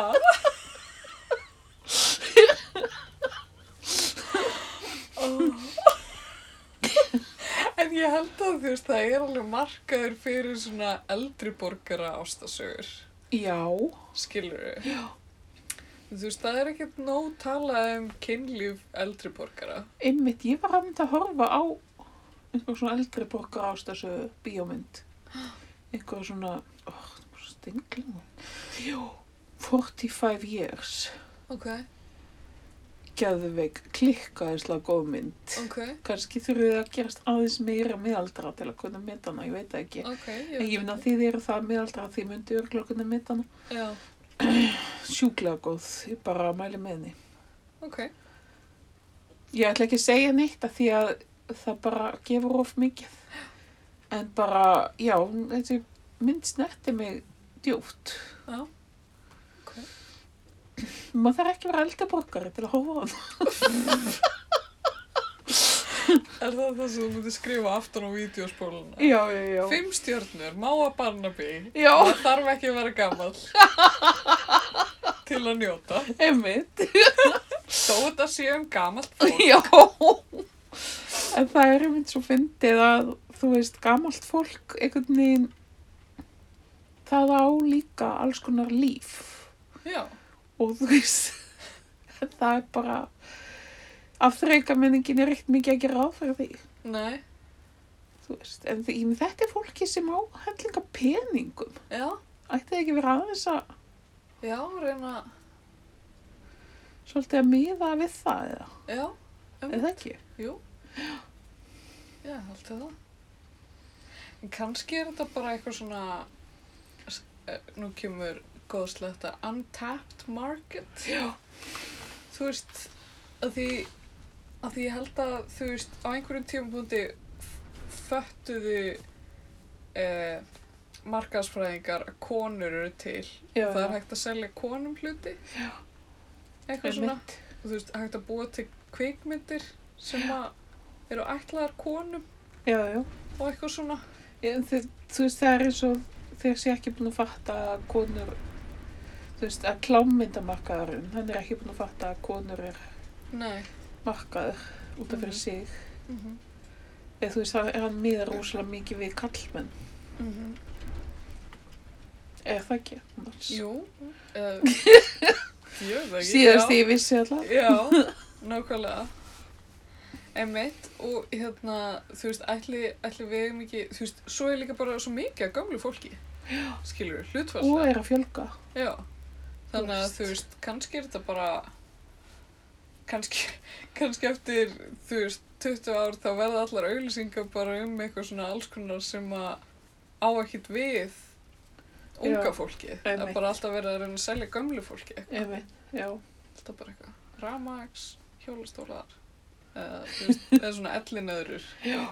Ó. Oh. En ég held að þú veist, það er alveg markaður fyrir svona eldri borgara ástasögur. Já. skilur við þú veist það er ekkert nóg talað um kynlíf eldri borgara Einmitt, ég var að mynda að horfa á einhver svona eldri borgar ástasögu bíómynd. Einhver svona, ó, stinglum. Jú, 45 years. ok, Geðveik, klikkaðislega góð mynd. ok, Kanski þurfið þið að gerast aðeins meira miðaldra til að kunna mynda hana, ég veit það ekki. ok En ég finn að þið eru það miðaldra því myndi örgla kunna mynda hana. já, Sjúklega góð, ég bara mæli með henni. ok, Ég ætla ekki að segja neitt af því að það bara gefur of mikið. En bara, já, þessi mynd snerti mig djúpt. já ok, Maður þarf ekki að vera eldri borgari til að hófa hann. er það það sem þú myndir skrifa aftan á vídeospóluna Já, já, já. fimm stjörnur, máa Barnaby Já, það þarf ekki að vera gamall til að njóta einmitt. þó þetta sé um gamalt fólk Já. En það er einmitt svo fyndið að, þú veist, gamalt fólk einhvern veginn, það á líka alls konar líf. já, og þú veist það er bara að þrauka menningin er ekkert mikið að gera ráð fyrir því nei, þú veist, en því, en þetta er fólki sem á hellinga peningum já ætti það ekki að vera aðeins að já, reyna, svolítið að miða við það eða, já eða ekki Jú, já, haldið það. En kannski er þetta bara eitthvað svona, s- eh, nú kemur góðslegt að untapped market. Já. Þú veist, að því, að því ég held að, þú veist, á einhverjum tímapunkti föttuðu eh, markaðsfræðingar að konur eru til. já, Það er hægt að selja konum hluti. Já. Eitthvað svona einmitt. og þú veist, hægt að búa til kvikmyndir sem að eru ætlaðar konum já, já. og eitthvað svona. Ég, en þið, þú veist, það er eins og þeir sé ekki búin að fatta að konur þú veist, að klámyndamarkaðurinn hann er ekki búin að fatta að konur er Nei. markaður út af fyrir Mhm. sig Mm -hmm. eða þú veist, hann, hann miðar rosalega mikið við kallmenn Er það ekki? annars? Jú. Uh, ég veit það ekki. Síðast já. ég vissi alltaf. Já, nákvæmlega. Emitt og hérna, þú veist, ætli, ætli við erum ekki, þú veist, svo er líka bara svo mikið af gamlu fólki. Já. Skilur, Og hlutfærslega. er að fjölga. Já. Þannig að Þú þú veist, kannski er þetta bara kannski, kannski eftir, þú veist, 20 ár þá verða allar auglýsingar bara um eitthvað svona alls konar sem að á ekkit við unga Já, fólki. Það einmitt. er bara alltaf verið að reyna að selja gömlu fólki. Emi, já. Alltaf bara eitthvað. Ramax, hjólastólar, eða, þú veist, eða svona ellinöðrur. Já.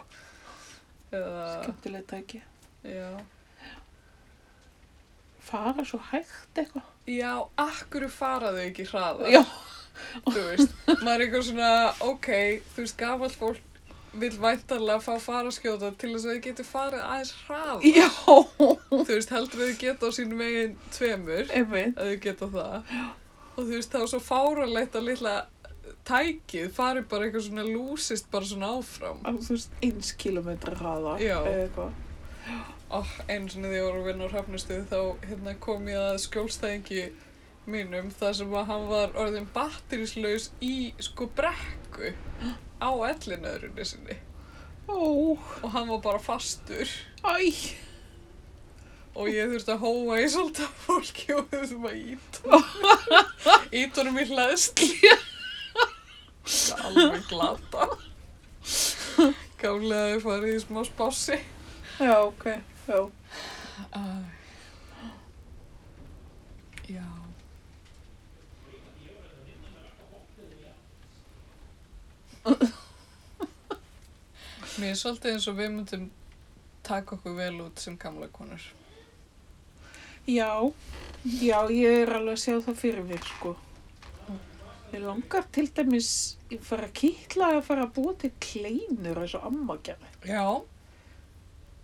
Eða, Skemmtilega tæki. já. Fara svo hægt eitthvað. Já, akkur faraðu ekki hraðar? Já. þú veist, maður er eitthvað svona, ok, þú veist, gamall fólk vil væntanlega fá faraskjóta til þess að þau getur farið aðeins hraðar. Já. Þú veist, heldur að þau geta á sínum eigin tveimur, Emi. að þau geta það. Og þú veist, þá er svo fáralegt að litla tækið farið bara eitthvað svona lúsist bara svona áfram. Á, þú veist, eins kilometri hraða. Já. eða Eitthvað. Oh, einu sinni þegar ég voru að vinna á hrafnustuð þá hérna, kom ég að skjólstæðingi mínum þar sem að hann var orðin batterislaus í sko brekku á ellinöðrunni sinni Ó, og hann var bara fastur æ. og ég þurfti að hóa í svolítið af fólki og við þurftum að íta honum- íta honum í hlæðsli alveg glata gamlega að ég farið í smá spássi Já, ok. Já. já Mér er svolítið eins og við myndum taka okkur vel út sem gamla konur. Já. Já, ég er alveg að sjá það fyrir mér, sko. Ég langar til dæmis, ég fara að kýtla að fara að búa til kleinur eins og amma gerði. Já,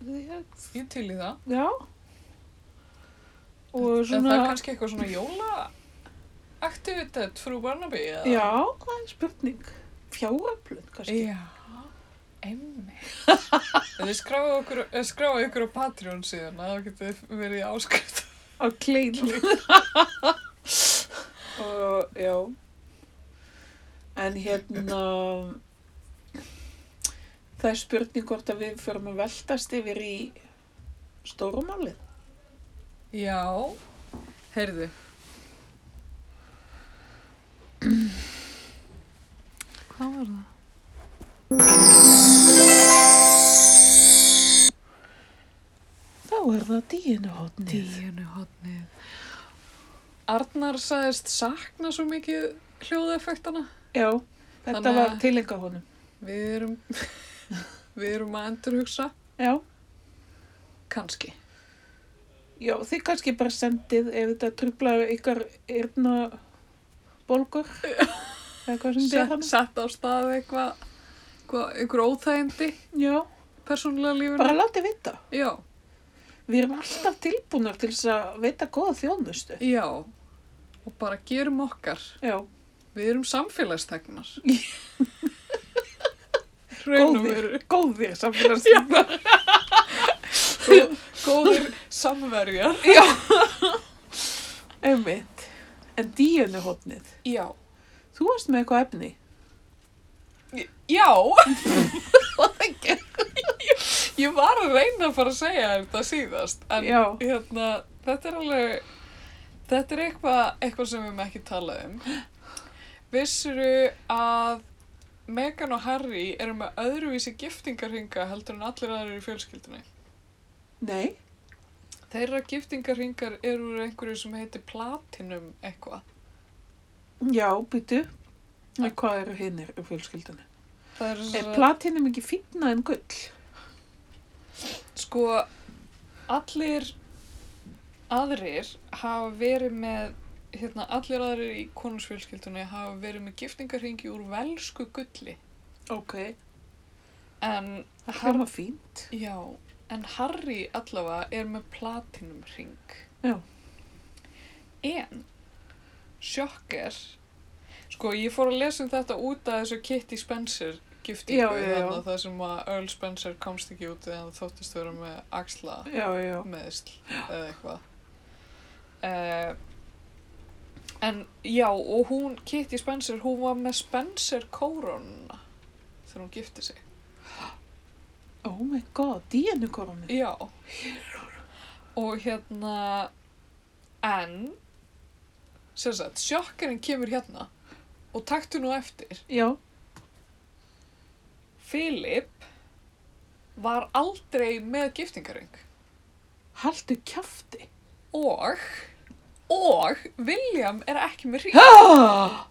Ég- ég til í það. Já. Og En það er svona, kannski eitthvað svona jólaaktivitet frú Barnaby eða? já, það er spurning. Fjáröflun, kannski. Já, emmi. Þið skráðu okkur, eh, skráið ykkur á Patreon síðan að það getið verið í áskrift. Á kleinu. og, já. En hérna, það er spurning hvort að við förum að veltast yfir í stórumálið. Já, heyrðu. Hvað var það? Þá er það díinu hotnið. Díunu hotnið. Arnar sagðist sakna svo mikið hljóðeffektana. Já, þetta Þannig var að- tilenga honum. Við erum, við erum að endurhugsa. Já, Kanski. já, þið kannski bara sendið ef þetta trublar ykkar yrna bólgur. Eða hvað sem þið þannig. Sett á stað eitthvað, eitthvað, einhver óþægindi, Já, persónulega lífuna. bara látið vita. Já, Við erum alltaf tilbúnar til þess að veita góða þjónustu. já. Og bara gerum okkar. Já, Við erum samfélagstegnar. Raun og veru. góðir, góðir samfélagsstofnar. Góðir samverjar. Já, einmitt. En díunni hotnið, Já. þú varst með eitthvað efni. Já. ég var að reyna að fara að segja þér þetta síðast. En Já. hérna, þetta er alveg, þetta er eitthvað, eitthvað sem við erum ekki talað um. Vissuru að Megan og Harry eru með öðruvísi giftingarhinga heldur en allir aðrir í fjölskyldunni. Nei, Þeirra giftingarhingar eru úr einhverju sem heitir Platinum eitthvað. já, byttu. En hvað eru hinnir um fjölskyldunni? Það eru Er sem sagt- platinum ekki fínna en gull? Sko, allir aðrir hafa verið með, hérna, allir aðrir í konusfjölskyldunni hafa verið með giftingarhingi úr velsku gulli. Ok, En, það Har- hljóma fínt. já, en Harry allavega er með platinum ring. Já. En, sjokker, sko, ég fór að lesa um þetta út af þessu Kitty Spencer giftingu, Já, já, já. þarna, það sem að Earl Spencer komst ekki út eða hann þóttist vera með axla Já, já, meðsl eða eitthvað uh, en já og hún, Kitty Spencer hún var með Spencer kórónuna þegar hún gifti sig oh my god, díunni koronu. já og hérna en sem sagt, sjokkarinn kemur hérna Og taktu nú eftir, já, Filip var aldrei með giftingarring haldu kjafti. og, og William er ekki með hring. Ah!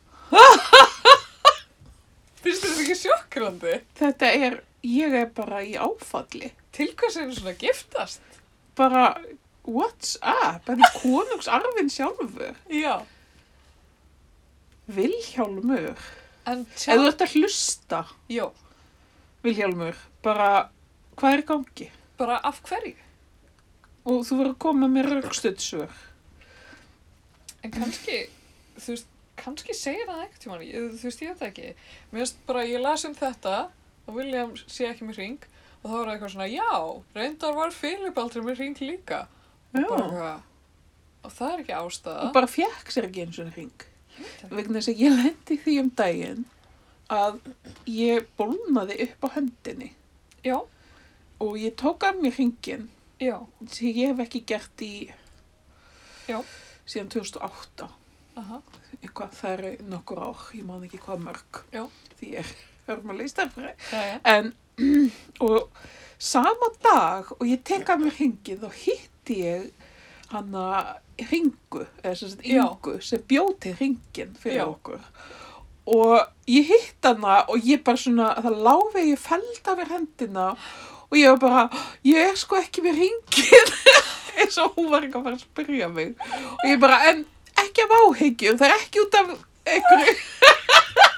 Finnst þér þetta ekki sjokkrandi? Þetta er, ég er bara í áfalli. Til hvers er það svona að giftast? Bara, what's up? En konungsarfin sjálfur. Já. Vilhjálmur. En Ef þú Charles, ert að hlusta, já, Vilhjálmur, bara, hvað er í gangi? bara af hverju? Og þú verður að koma með raukstuðsvör. En kannski, þú veist, kannski segir hann ekkert tíma, þú veist, ég veit það ekki. Mér finnst bara, ég las um þetta og William sé ekki með hring og þá var það eitthvað svona, já, reyndar var Philip aldrei með hring líka. Já. Og bara eitthvað, og það er ekki ástæða. Og bara fekk sér ekki eins og hring. Bara, Vegna þess að ég lendi því um daginn að ég bólnaði upp á höndinni já, og ég tók af mér hringin já, sem ég hef ekki gert í Já. síðan 2008. aha, Eitthvað, það eru nokkur ár, ég man ekki hvað mörg. Já. Því ég er örmulega í stafræði. það er, En, og sama dag og ég tek af mér hringið og hitti ég hana hringu, eða sem sagt Já. yngu, sem bjóti hringin fyrir Já. okkur. Og ég hitt hana og ég bara svona, það láfi ég feld af mér hendina og ég var bara, ég er sko ekki með hringin, eins og hún var ekki að fara að spyrja mig. Og ég bara, en ekki af áhyggjum, það er ekki út af einhverju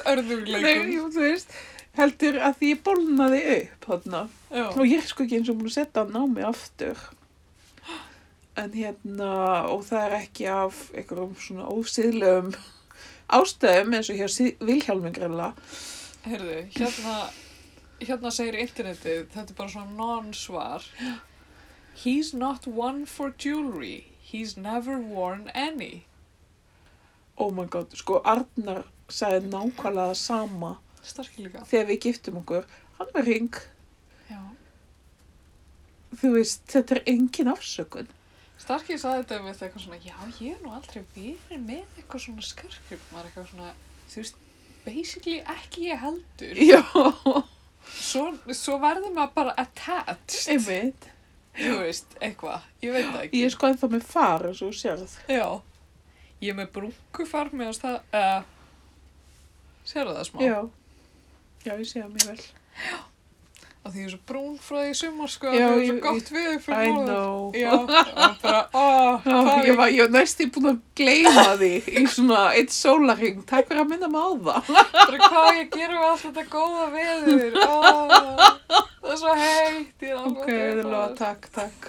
Nei, örðugleikum. jú, þú veist, heldur að því ég bólnaði upp þarna Já, og ég er sko ekki eins og búin að setja hann á mig aftur en hérna og það er ekki af einhverjum svona ósýðlegum ástæðum eins og hjá Sið- Vilhjálmi grilla heyrðu, hérna, hérna segir internetið, þetta er bara svona non-svar. He's not one for jewelry, he's never worn any. oh my god, sko Arnar sagði nákvæmlega það sama Starki líka. þegar við giftum okkur hann var ring, Já. þú veist, þetta er engin afsökun Starki saði þetta við eitthvað svona, já, ég er nú aldrei verið með eitthvað svona skarkjum. Maður eitthvað svona, þú veist, basically ekki ég heldur. já, Svo, svo verður maður bara attached, einmitt þú veist, eitthvað. Ég veit það ekki. ég sko- er sko ennþá með far eins og þú sérð Já. Ég er með brúnkufar með að stað, uh, sérðu það smá? já, já, ég sé það mjög vel Af því ég er svo brún frá því í sumar, sko, Já, já, það er svo ég- gott við þig I fyrir norður. know. Já, og bara, ó, Já, hvað ég var, ég var næstu búin að gleyma því í svona eitt sólarring. Takk fyrir að minna mig á það. Bara hvað á ég að gera við allt þetta góða veður. Ó, það er svo heitt. Ég er alveg Ok, að það deyja. takk, takk.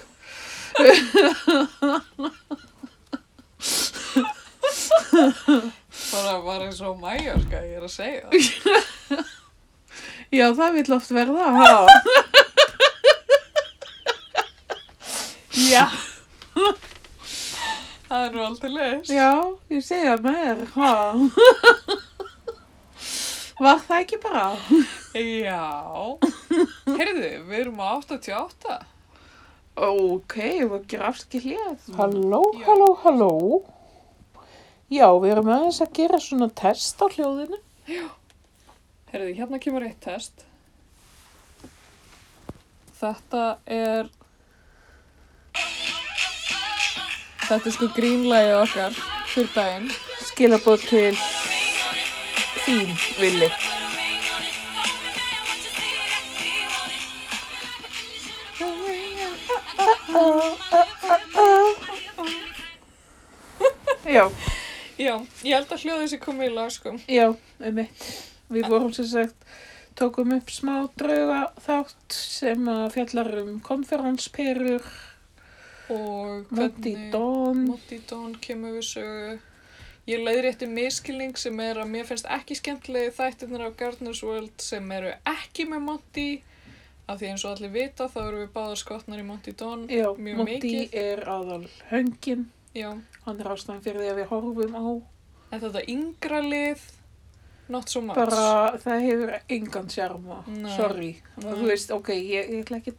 Bara var eins og mæjorka, ég er að segja það. Já, það vil oft verða, ha? Já. Það er nú aldrei leist. Já, ég segja mér, ha? Var það ekki bara? Já. Heyrðu, við erum á 88. Ok, við gerum afskil hér. Halló, Já. halló, halló. Já, við erum aðeins að gera svona test á hljóðinu. Heyrðu, hérna kemur eitt test. Þetta er... Þetta er sko grínlægi okkar fyrir daginn. Skilabóð til þín, Villi. Ah. Já, Já, ég held að hljóðið sé komið í lag, sko. já, um Við vorum sem sagt, tókum upp smá drauga þátt sem að fjallar um konferensperur, Og Monty hvernig... Don. Monty Don kemur við sögu. Ég leiðir eftir miskilning sem er að mér finnst ekki skemmtilegi þættirnir af Gardner's World sem eru ekki með Monty. Af því eins og allir vita þá eru við báðar skotnar í Monty Don. Já, mjög Monty mikið. er aðal höngin. Já, Hann er ástæðan fyrir því að við horfum á. en þetta yngra lið, not so much. Bara það hefur engan sjarma. Nei. Sorry. Nei. Þú veist, ok, ég, ég, ætla ekki,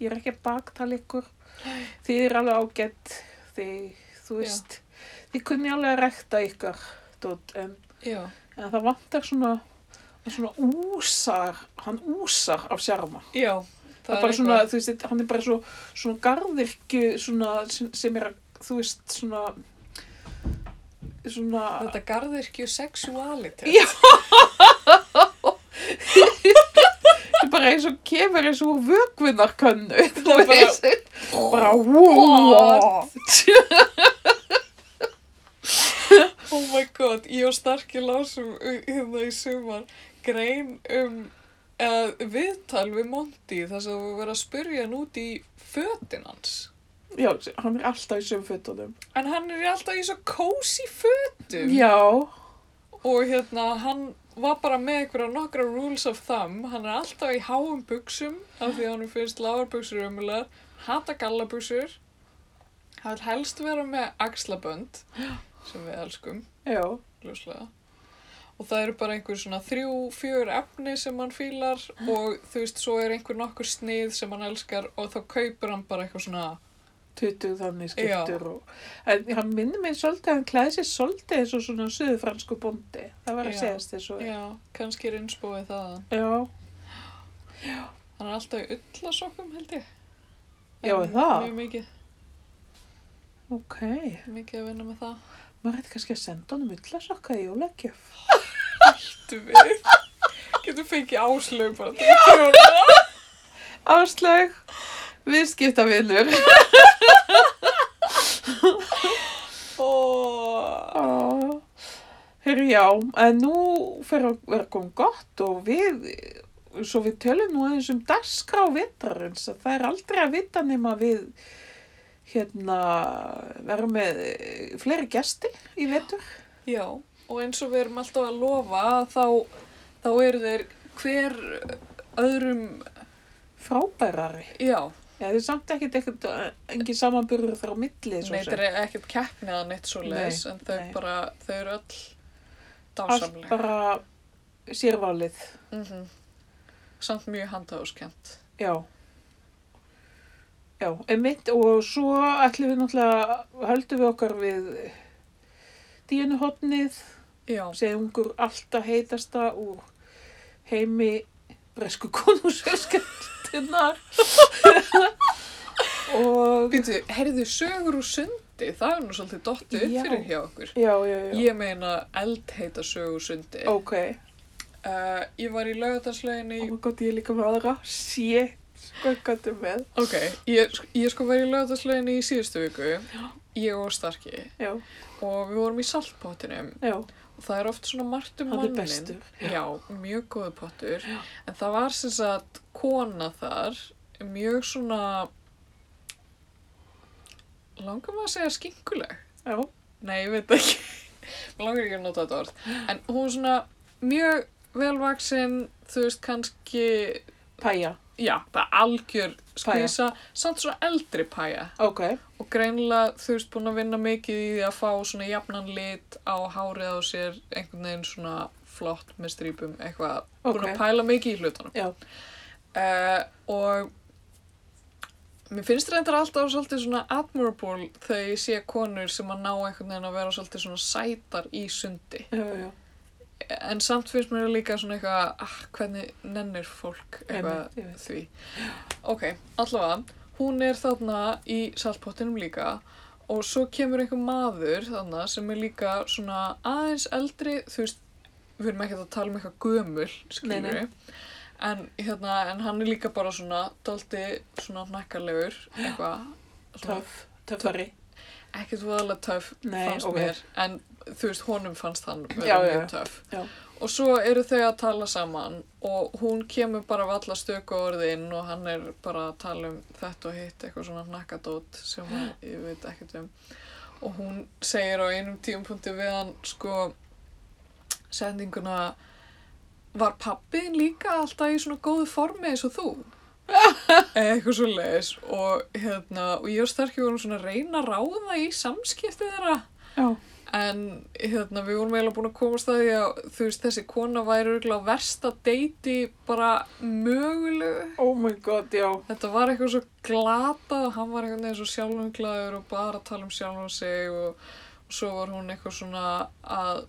ég er ekki að baktala ykkur. Þið er alveg ágætt. Þið, þú Já. veist, þið kunni alveg að rekta ykkar dót en, Já. en það vantar svona það er svona úsar, hann úsar af sjarma. Já. Það, er bara svona, þú veist, hann er bara svo, svona garðirkju svona, sem, sem er, að, þú veist, svona, svona, Þetta garðirkju sexuality. Já. þetta er bara eins og kemur eins og vökvinnarkönnu, þú Það er bara- veist, bara, what? Oh my god, ég og Starki lásum uh, hérna í sumar grein um uh, viðtal við Monty þess að við verðum að spurja hann út í fötin hans. Já, hann er alltaf í söm fötunum. En hann er alltaf í svo cozy fötum. Já, Og hérna, hann var bara með einhverja nokkra rules of thumb. Hann er alltaf í háum buksum af því að hann finnst lágar buksur ömulegar. Hata gallabuksur. Hann vil helst vera með axlabönd sem við elskum, já, ljóslega. Og það eru bara einhver svona þrjú, fjör efni sem hann fílar og þú veist, svo er einhver nokkur snið sem hann elskar og þá kaupir hann bara eitthvað svona... tutug þannig Já. skiptur og, en hann minnir mig svolítið, hann klæði sér svolítið eins og svona suðufransku bóndi, það var að Já. segjast þess og, Já, kannski er innspóið það. já. Hann er alltaf í ullasokkum, held ég. Já, er það? Mjög mikið, Ok, mikið að vinna með það. maður ætti kannski að senda honum ullasokka í jólagjöf. Þú við. Getur fengið áslög bara til kjóna. Áslag, viðskiptavinur. Ó, Herru, já, en nú fer að vera kom gott og við, svo við tölum nú aðeins um dagskrá vetrarins að það er aldrei að vita nema við hérna vera með eh, fleiri gesti í vetur. Já, og eins og við erum alltaf að lofa þá, þá eru þeir hver öðrum, Frábærari. já, Já, það er samt ekkert eitthvað, engin samanburður þar á milli. svo neitt sem. er ekkert keppnið að neitt svo leiðis, en þau nei. bara, þau eru öll Allt dásamleg. bara sérvalið. Mm Samt mjög handhafskent. Já. Já, einmitt og svo ætlum við náttúrulega höldum við okkar við díunuhotnið Já, sem ungur alltaf heitasta úr heimi bresku konúsfjölskeldunar og býtu, heyrðu sögur úr sundi, það er nú svolítið dottið upp Já. fyrir hjá okkur. já, já, já, Ég meina eldheita sögur sundi. ok Uh, ég var í laugardagsleginni og gott ég er líka með aðra shit, hvað gættu með Ok, ég, ég sko var í lögðarsleginni í síðustu viku, ég og Starki, já, og við vorum í saltpottinum. já, Það er oft svona margt um hann er mannin. bestur Já, mjög góðu pottur. En það var sem sagt kona þar, mjög svona, langar maður að segja skinkuleg? já, Nei, ég veit ekki. Mér langar ekki að nota þetta orð. En hún svona mjög velvaksinn, þú veist, kannski, pæja, já, bara algjör skvísa, samt svona eldri pæja. ok Og greinilega þú veist búin að vinna mikið í því að fá svona jafnan lit á hárið á sér einhvern veginn svona flott með strípum eitthvað. Búin Ok. að pæla mikið í hlutunum. já, Uh, og mér finnst reyndar alltaf svolítið svona admirable þegar ég sé konur sem að ná einhvern veginn að vera svolítið svona sætar í sundi. já, já, En samt finnst mér líka svona eitthvað, ah, hvernig nennir fólk eitthvað Einmitt, ég veit. því. Ok, allavega, hún er þarna í saltpottinum líka og svo kemur einhver maður þarna sem er líka svona aðeins eldri, þú veist, við erum ekkert að tala um eitthvað gömul, Nei, skilur nei. við. En, hérna, en hann er líka bara svona daldi svona hnakkarlegur, eitthvað. svona töff, töffari ekkert voðalega töff Nei, fannst ok. mér en þú veist, honum fannst hann Já, vera já, já. mjög töff Já. og svo eru þau að tala saman og hún kemur bara valla stöku orðin og hann er bara að tala um þetta og hitt eitthvað svona nakkadót sem hann, ég veit ekkert um og hún segir á einum tíumpunkti við hann sko sendinguna var pappiðin líka alltaf í svona góðu formi eins og þú Eða eitthvað svo leiðis og hérna og ég og Starki vorum svona að reyna að ráða í samskipti þeirra já, en hérna við vorum eiginlega búin að komast að því að þú veist þessi kona væri örgulega versta deiti bara mögulegu oh my god, já þetta var eitthvað svo glatað og hann var eitthvað neður svo sjálfumglaður og bara að tala um sjálfum sig og, og svo var hún eitthvað svona að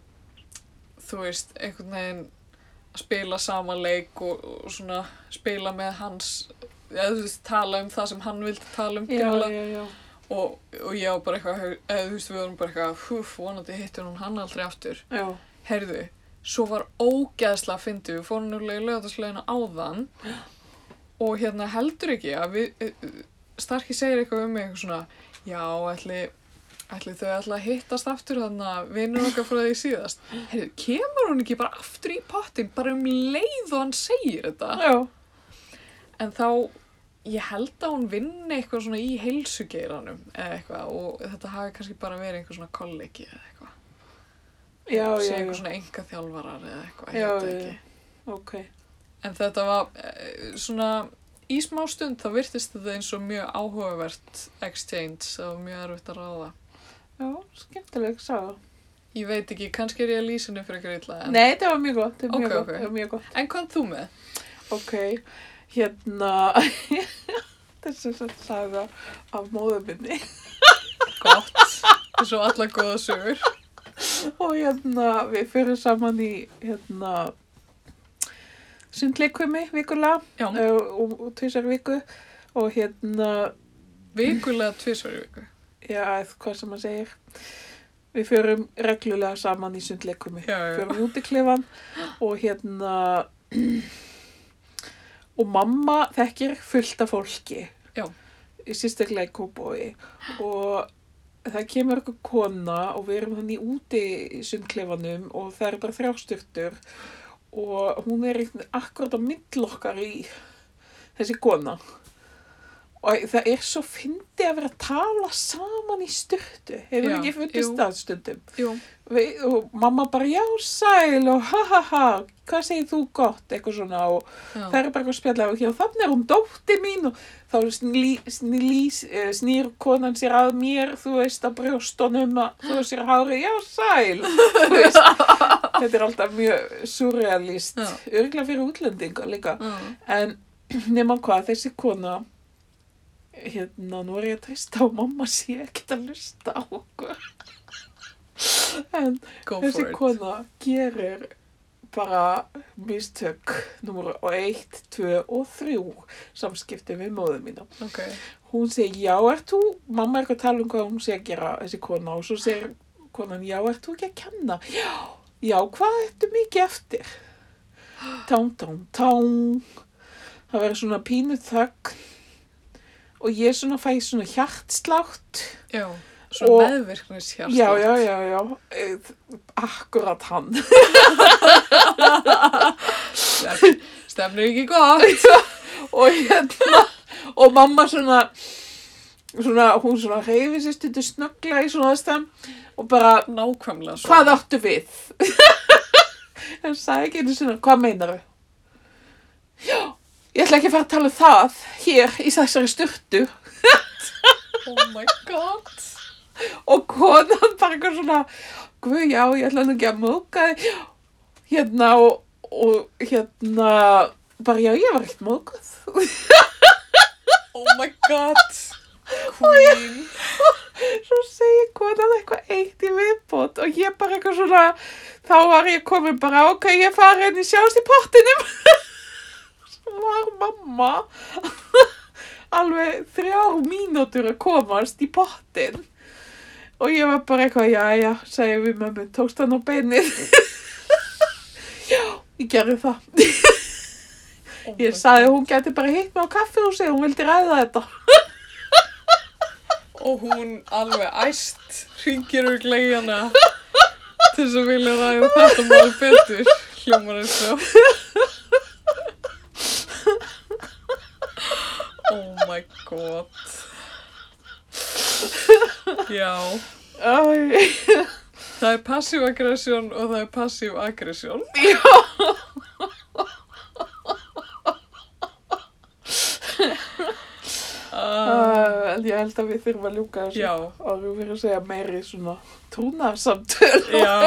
þú veist, einhvern veginn að spila sama leik og, og svona spila með hans eða þú veist, tala um það sem hann vildi tala um já, greinilega. já, já. og, og ég var bara eitthvað eða þú veist, við vorum bara eitthvað húf, vonandi hittur hún hann aldrei aftur já. Herðu, svo var ógeðslega fyndið, við fórum núlega í lögatarsleginu áðan og hérna heldur ekki að við, eh, Starki segir eitthvað um mig eitthvað svona, já, ætli, ætli þau ætla að hittast aftur þannig að vinnur okkar frá því síðast. Herðu, kemur hún ekki bara aftur í pottin, bara um leið og hann segir þetta? já. En þá, ég held að hún vinni eitthvað svona í heilsugeiranum eða eitthvað og þetta hafi kannski bara verið einhver svona kollegi eða eitthvað Já, sé já, einhver já, svona enga þjálfarar eða eitthvað, Já, ég veit já, það ekki. ok. En þetta var eh, svona, í smá stund þá virtist þetta eins og mjög áhugavert exchange, það var mjög erfitt að ráða. Já, skemmtileg saga. Ég veit ekki, kannski er ég að lýsa henni fyrir eitthvað illa. En, Nei, þetta var mjög gott, þetta var mjög Ok, gott, ok. þetta var mjög gott. en hvað þú með? Ok, hérna, þessi sem saga af móður minni. Gott, eins og alla góða sögur. Og hérna, við fyrir saman í, hérna, sundleikvimi vikulega Já, eh, og, og tvisar viku og hérna, vikulega tvisvar í viku. já, eða hvað sem maður segir, við fyrir reglulega saman í sundleikvimi. Já, já, fyrir út í klefan og hérna og mamma þekkir fullt af fólki Já. í sérstaklega í kópói og það kemur eitthvað kona og við erum hann í úti í sundklefanum og það eru bara þrjásturtur og hún er eitthvað akkurat á millokkar í þessi kona og það er svo fyndi að vera að tala saman í styrtu hefur Já, ekki jú. fundist það stundum jú, Við- og mamma bara já sæl og ha ha ha hvað segir þú gott eitthvað svona og já, það er bara eitthvað að spjalla og hér og þannig er hún dótti mín og þá sný, sný, eh, snýr konan sér að mér þú veist að brjóstunum að þú veist sér hári já sæl Þú veist, þetta er alltaf mjög surrealist Já. örgulega fyrir útlendinga líka já, en nema hvað þessi kona hérna nú er ég að treysta á að mamma sé ekkert að lusta á okkur en go Þessi for it. kona gerir bara mistök numur 1, 2 og 3 samskipti við móðu mína. Ok, Hún segir, já, ert þú, mamma er eitthvað að tala um hvað hún sé að gera þessi kona og svo segir konan, já, ert þú ekki að kenna? Já, já, hvað ertu mikið eftir? Tán, tán, tán. Það verður svona pínu þögn og ég svona fæ svona hjartslátt. já, svo Og- meðvirknis hjartslátt. Já, já, já, já, Eh, akkurat hann. Stefn, stefnir ekki gott. og hérna og mamma svona svona, hún svona reyfi sér stundu snögglega í svona aðstæðum og bara, Nákvæmlega svo. hvað áttu við? en sagði ekki einu sinna, hvað meinaru? Já, ég ætla ekki að fara að tala um það hér í þessari styrtu Oh my god. og konan bara eitthvað svona guð já, ég ætla nú ekki að móka þig." hérna og, og hérna bara já, ég var ekkert mókuð Oh my god. Queen. svo segir konan eitthvað eitt í viðbót og ég bara eitthvað svona þá var ég komin bara ok, ég fari henni sjást í pottinum svo var mamma alveg þrjár mínútur að komast í pottin og ég var bara eitthvað já, já, segjum við mömmu, tókst hann á beinið já, ég gerði það Oh my ég sagði hún geti bara hitt mig á kaffihúsi hún vildi ræða þetta og hún alveg æst ringir úr glegjana til þess að vilja ræða þetta mál betur hljómar eins og oh my god já Æ, það er passiv aggression og það er passiv aggression já uh, en ég held að við þurfum að ljúka þessu Ah. já Og þú verður að segja meiri svona trúnaðarsamtöl. Já.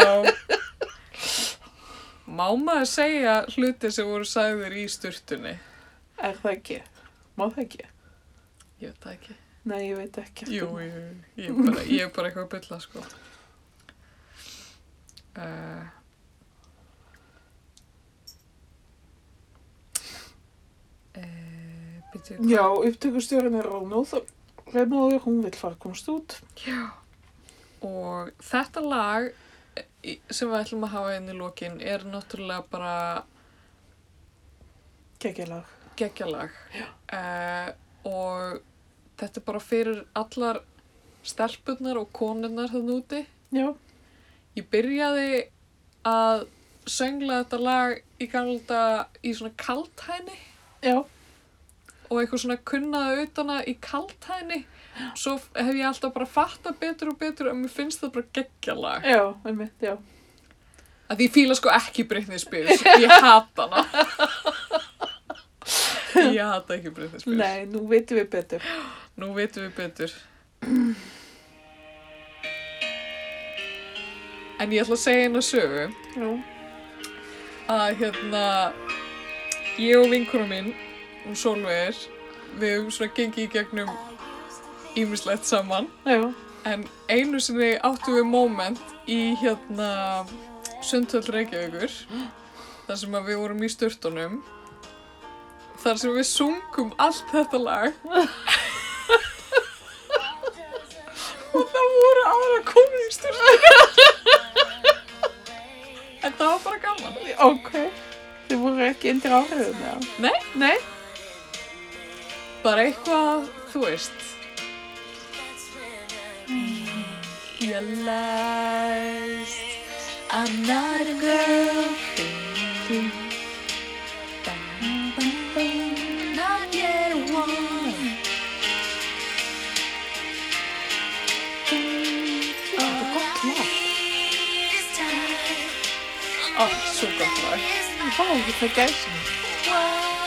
Má maður segja hluti sem voru sagðir í sturtunni? Er það ekki? Má það ekki? Ég veit það ekki. Nei, ég veit ekki. Jú, jú, jú. ég er bara, ég er bara eitthvað að bylla, sko. Uh, uppbyttu. Já, upptökustjórin er Rónóð Reynóður, hún vil fara komst út. Og þetta lag eh, í- sem við ætlum að hafa inn í lokin er náttúrulega bara Gekkjalag. geggjalag. Uh, og þetta er bara fyrir allar stelpunnar og konunnar þannig úti. Já, Ég byrjaði að söngla þetta lag í gamla í svona kaltæni já, og eitthvað svona kunnaða utana í kaltæni svo f- hef ég alltaf bara fatta betur og betur að mér finnst það bara geggjalag já, einmitt, já. að ég fíla sko ekki Britney Spears ég hata hana ég hata ekki Britney Spears Nei, nú veitum við betur. nú veitum við betur en ég ætla að segja eina sögu Já, að hérna ég og vinkunum minn hún Solveig er við höfum svona gengið í gegnum ímislegt saman já, en einu sinni áttum við moment í hérna Sundhöll Reykjavíkur þar sem að við vorum í styrtunum þar sem við sungum allt þetta lag og það voru aðra komið í styrtunum en það var bara gaman ok. Þið voru ekki undir áhrifum, já. Nei, nei. Bara eitthvað, þú veist. Realized I'm not a girl Bam, bam, bam, Not yet one Ó, svo gott lag Vá, ég fæ gæsum. Wow.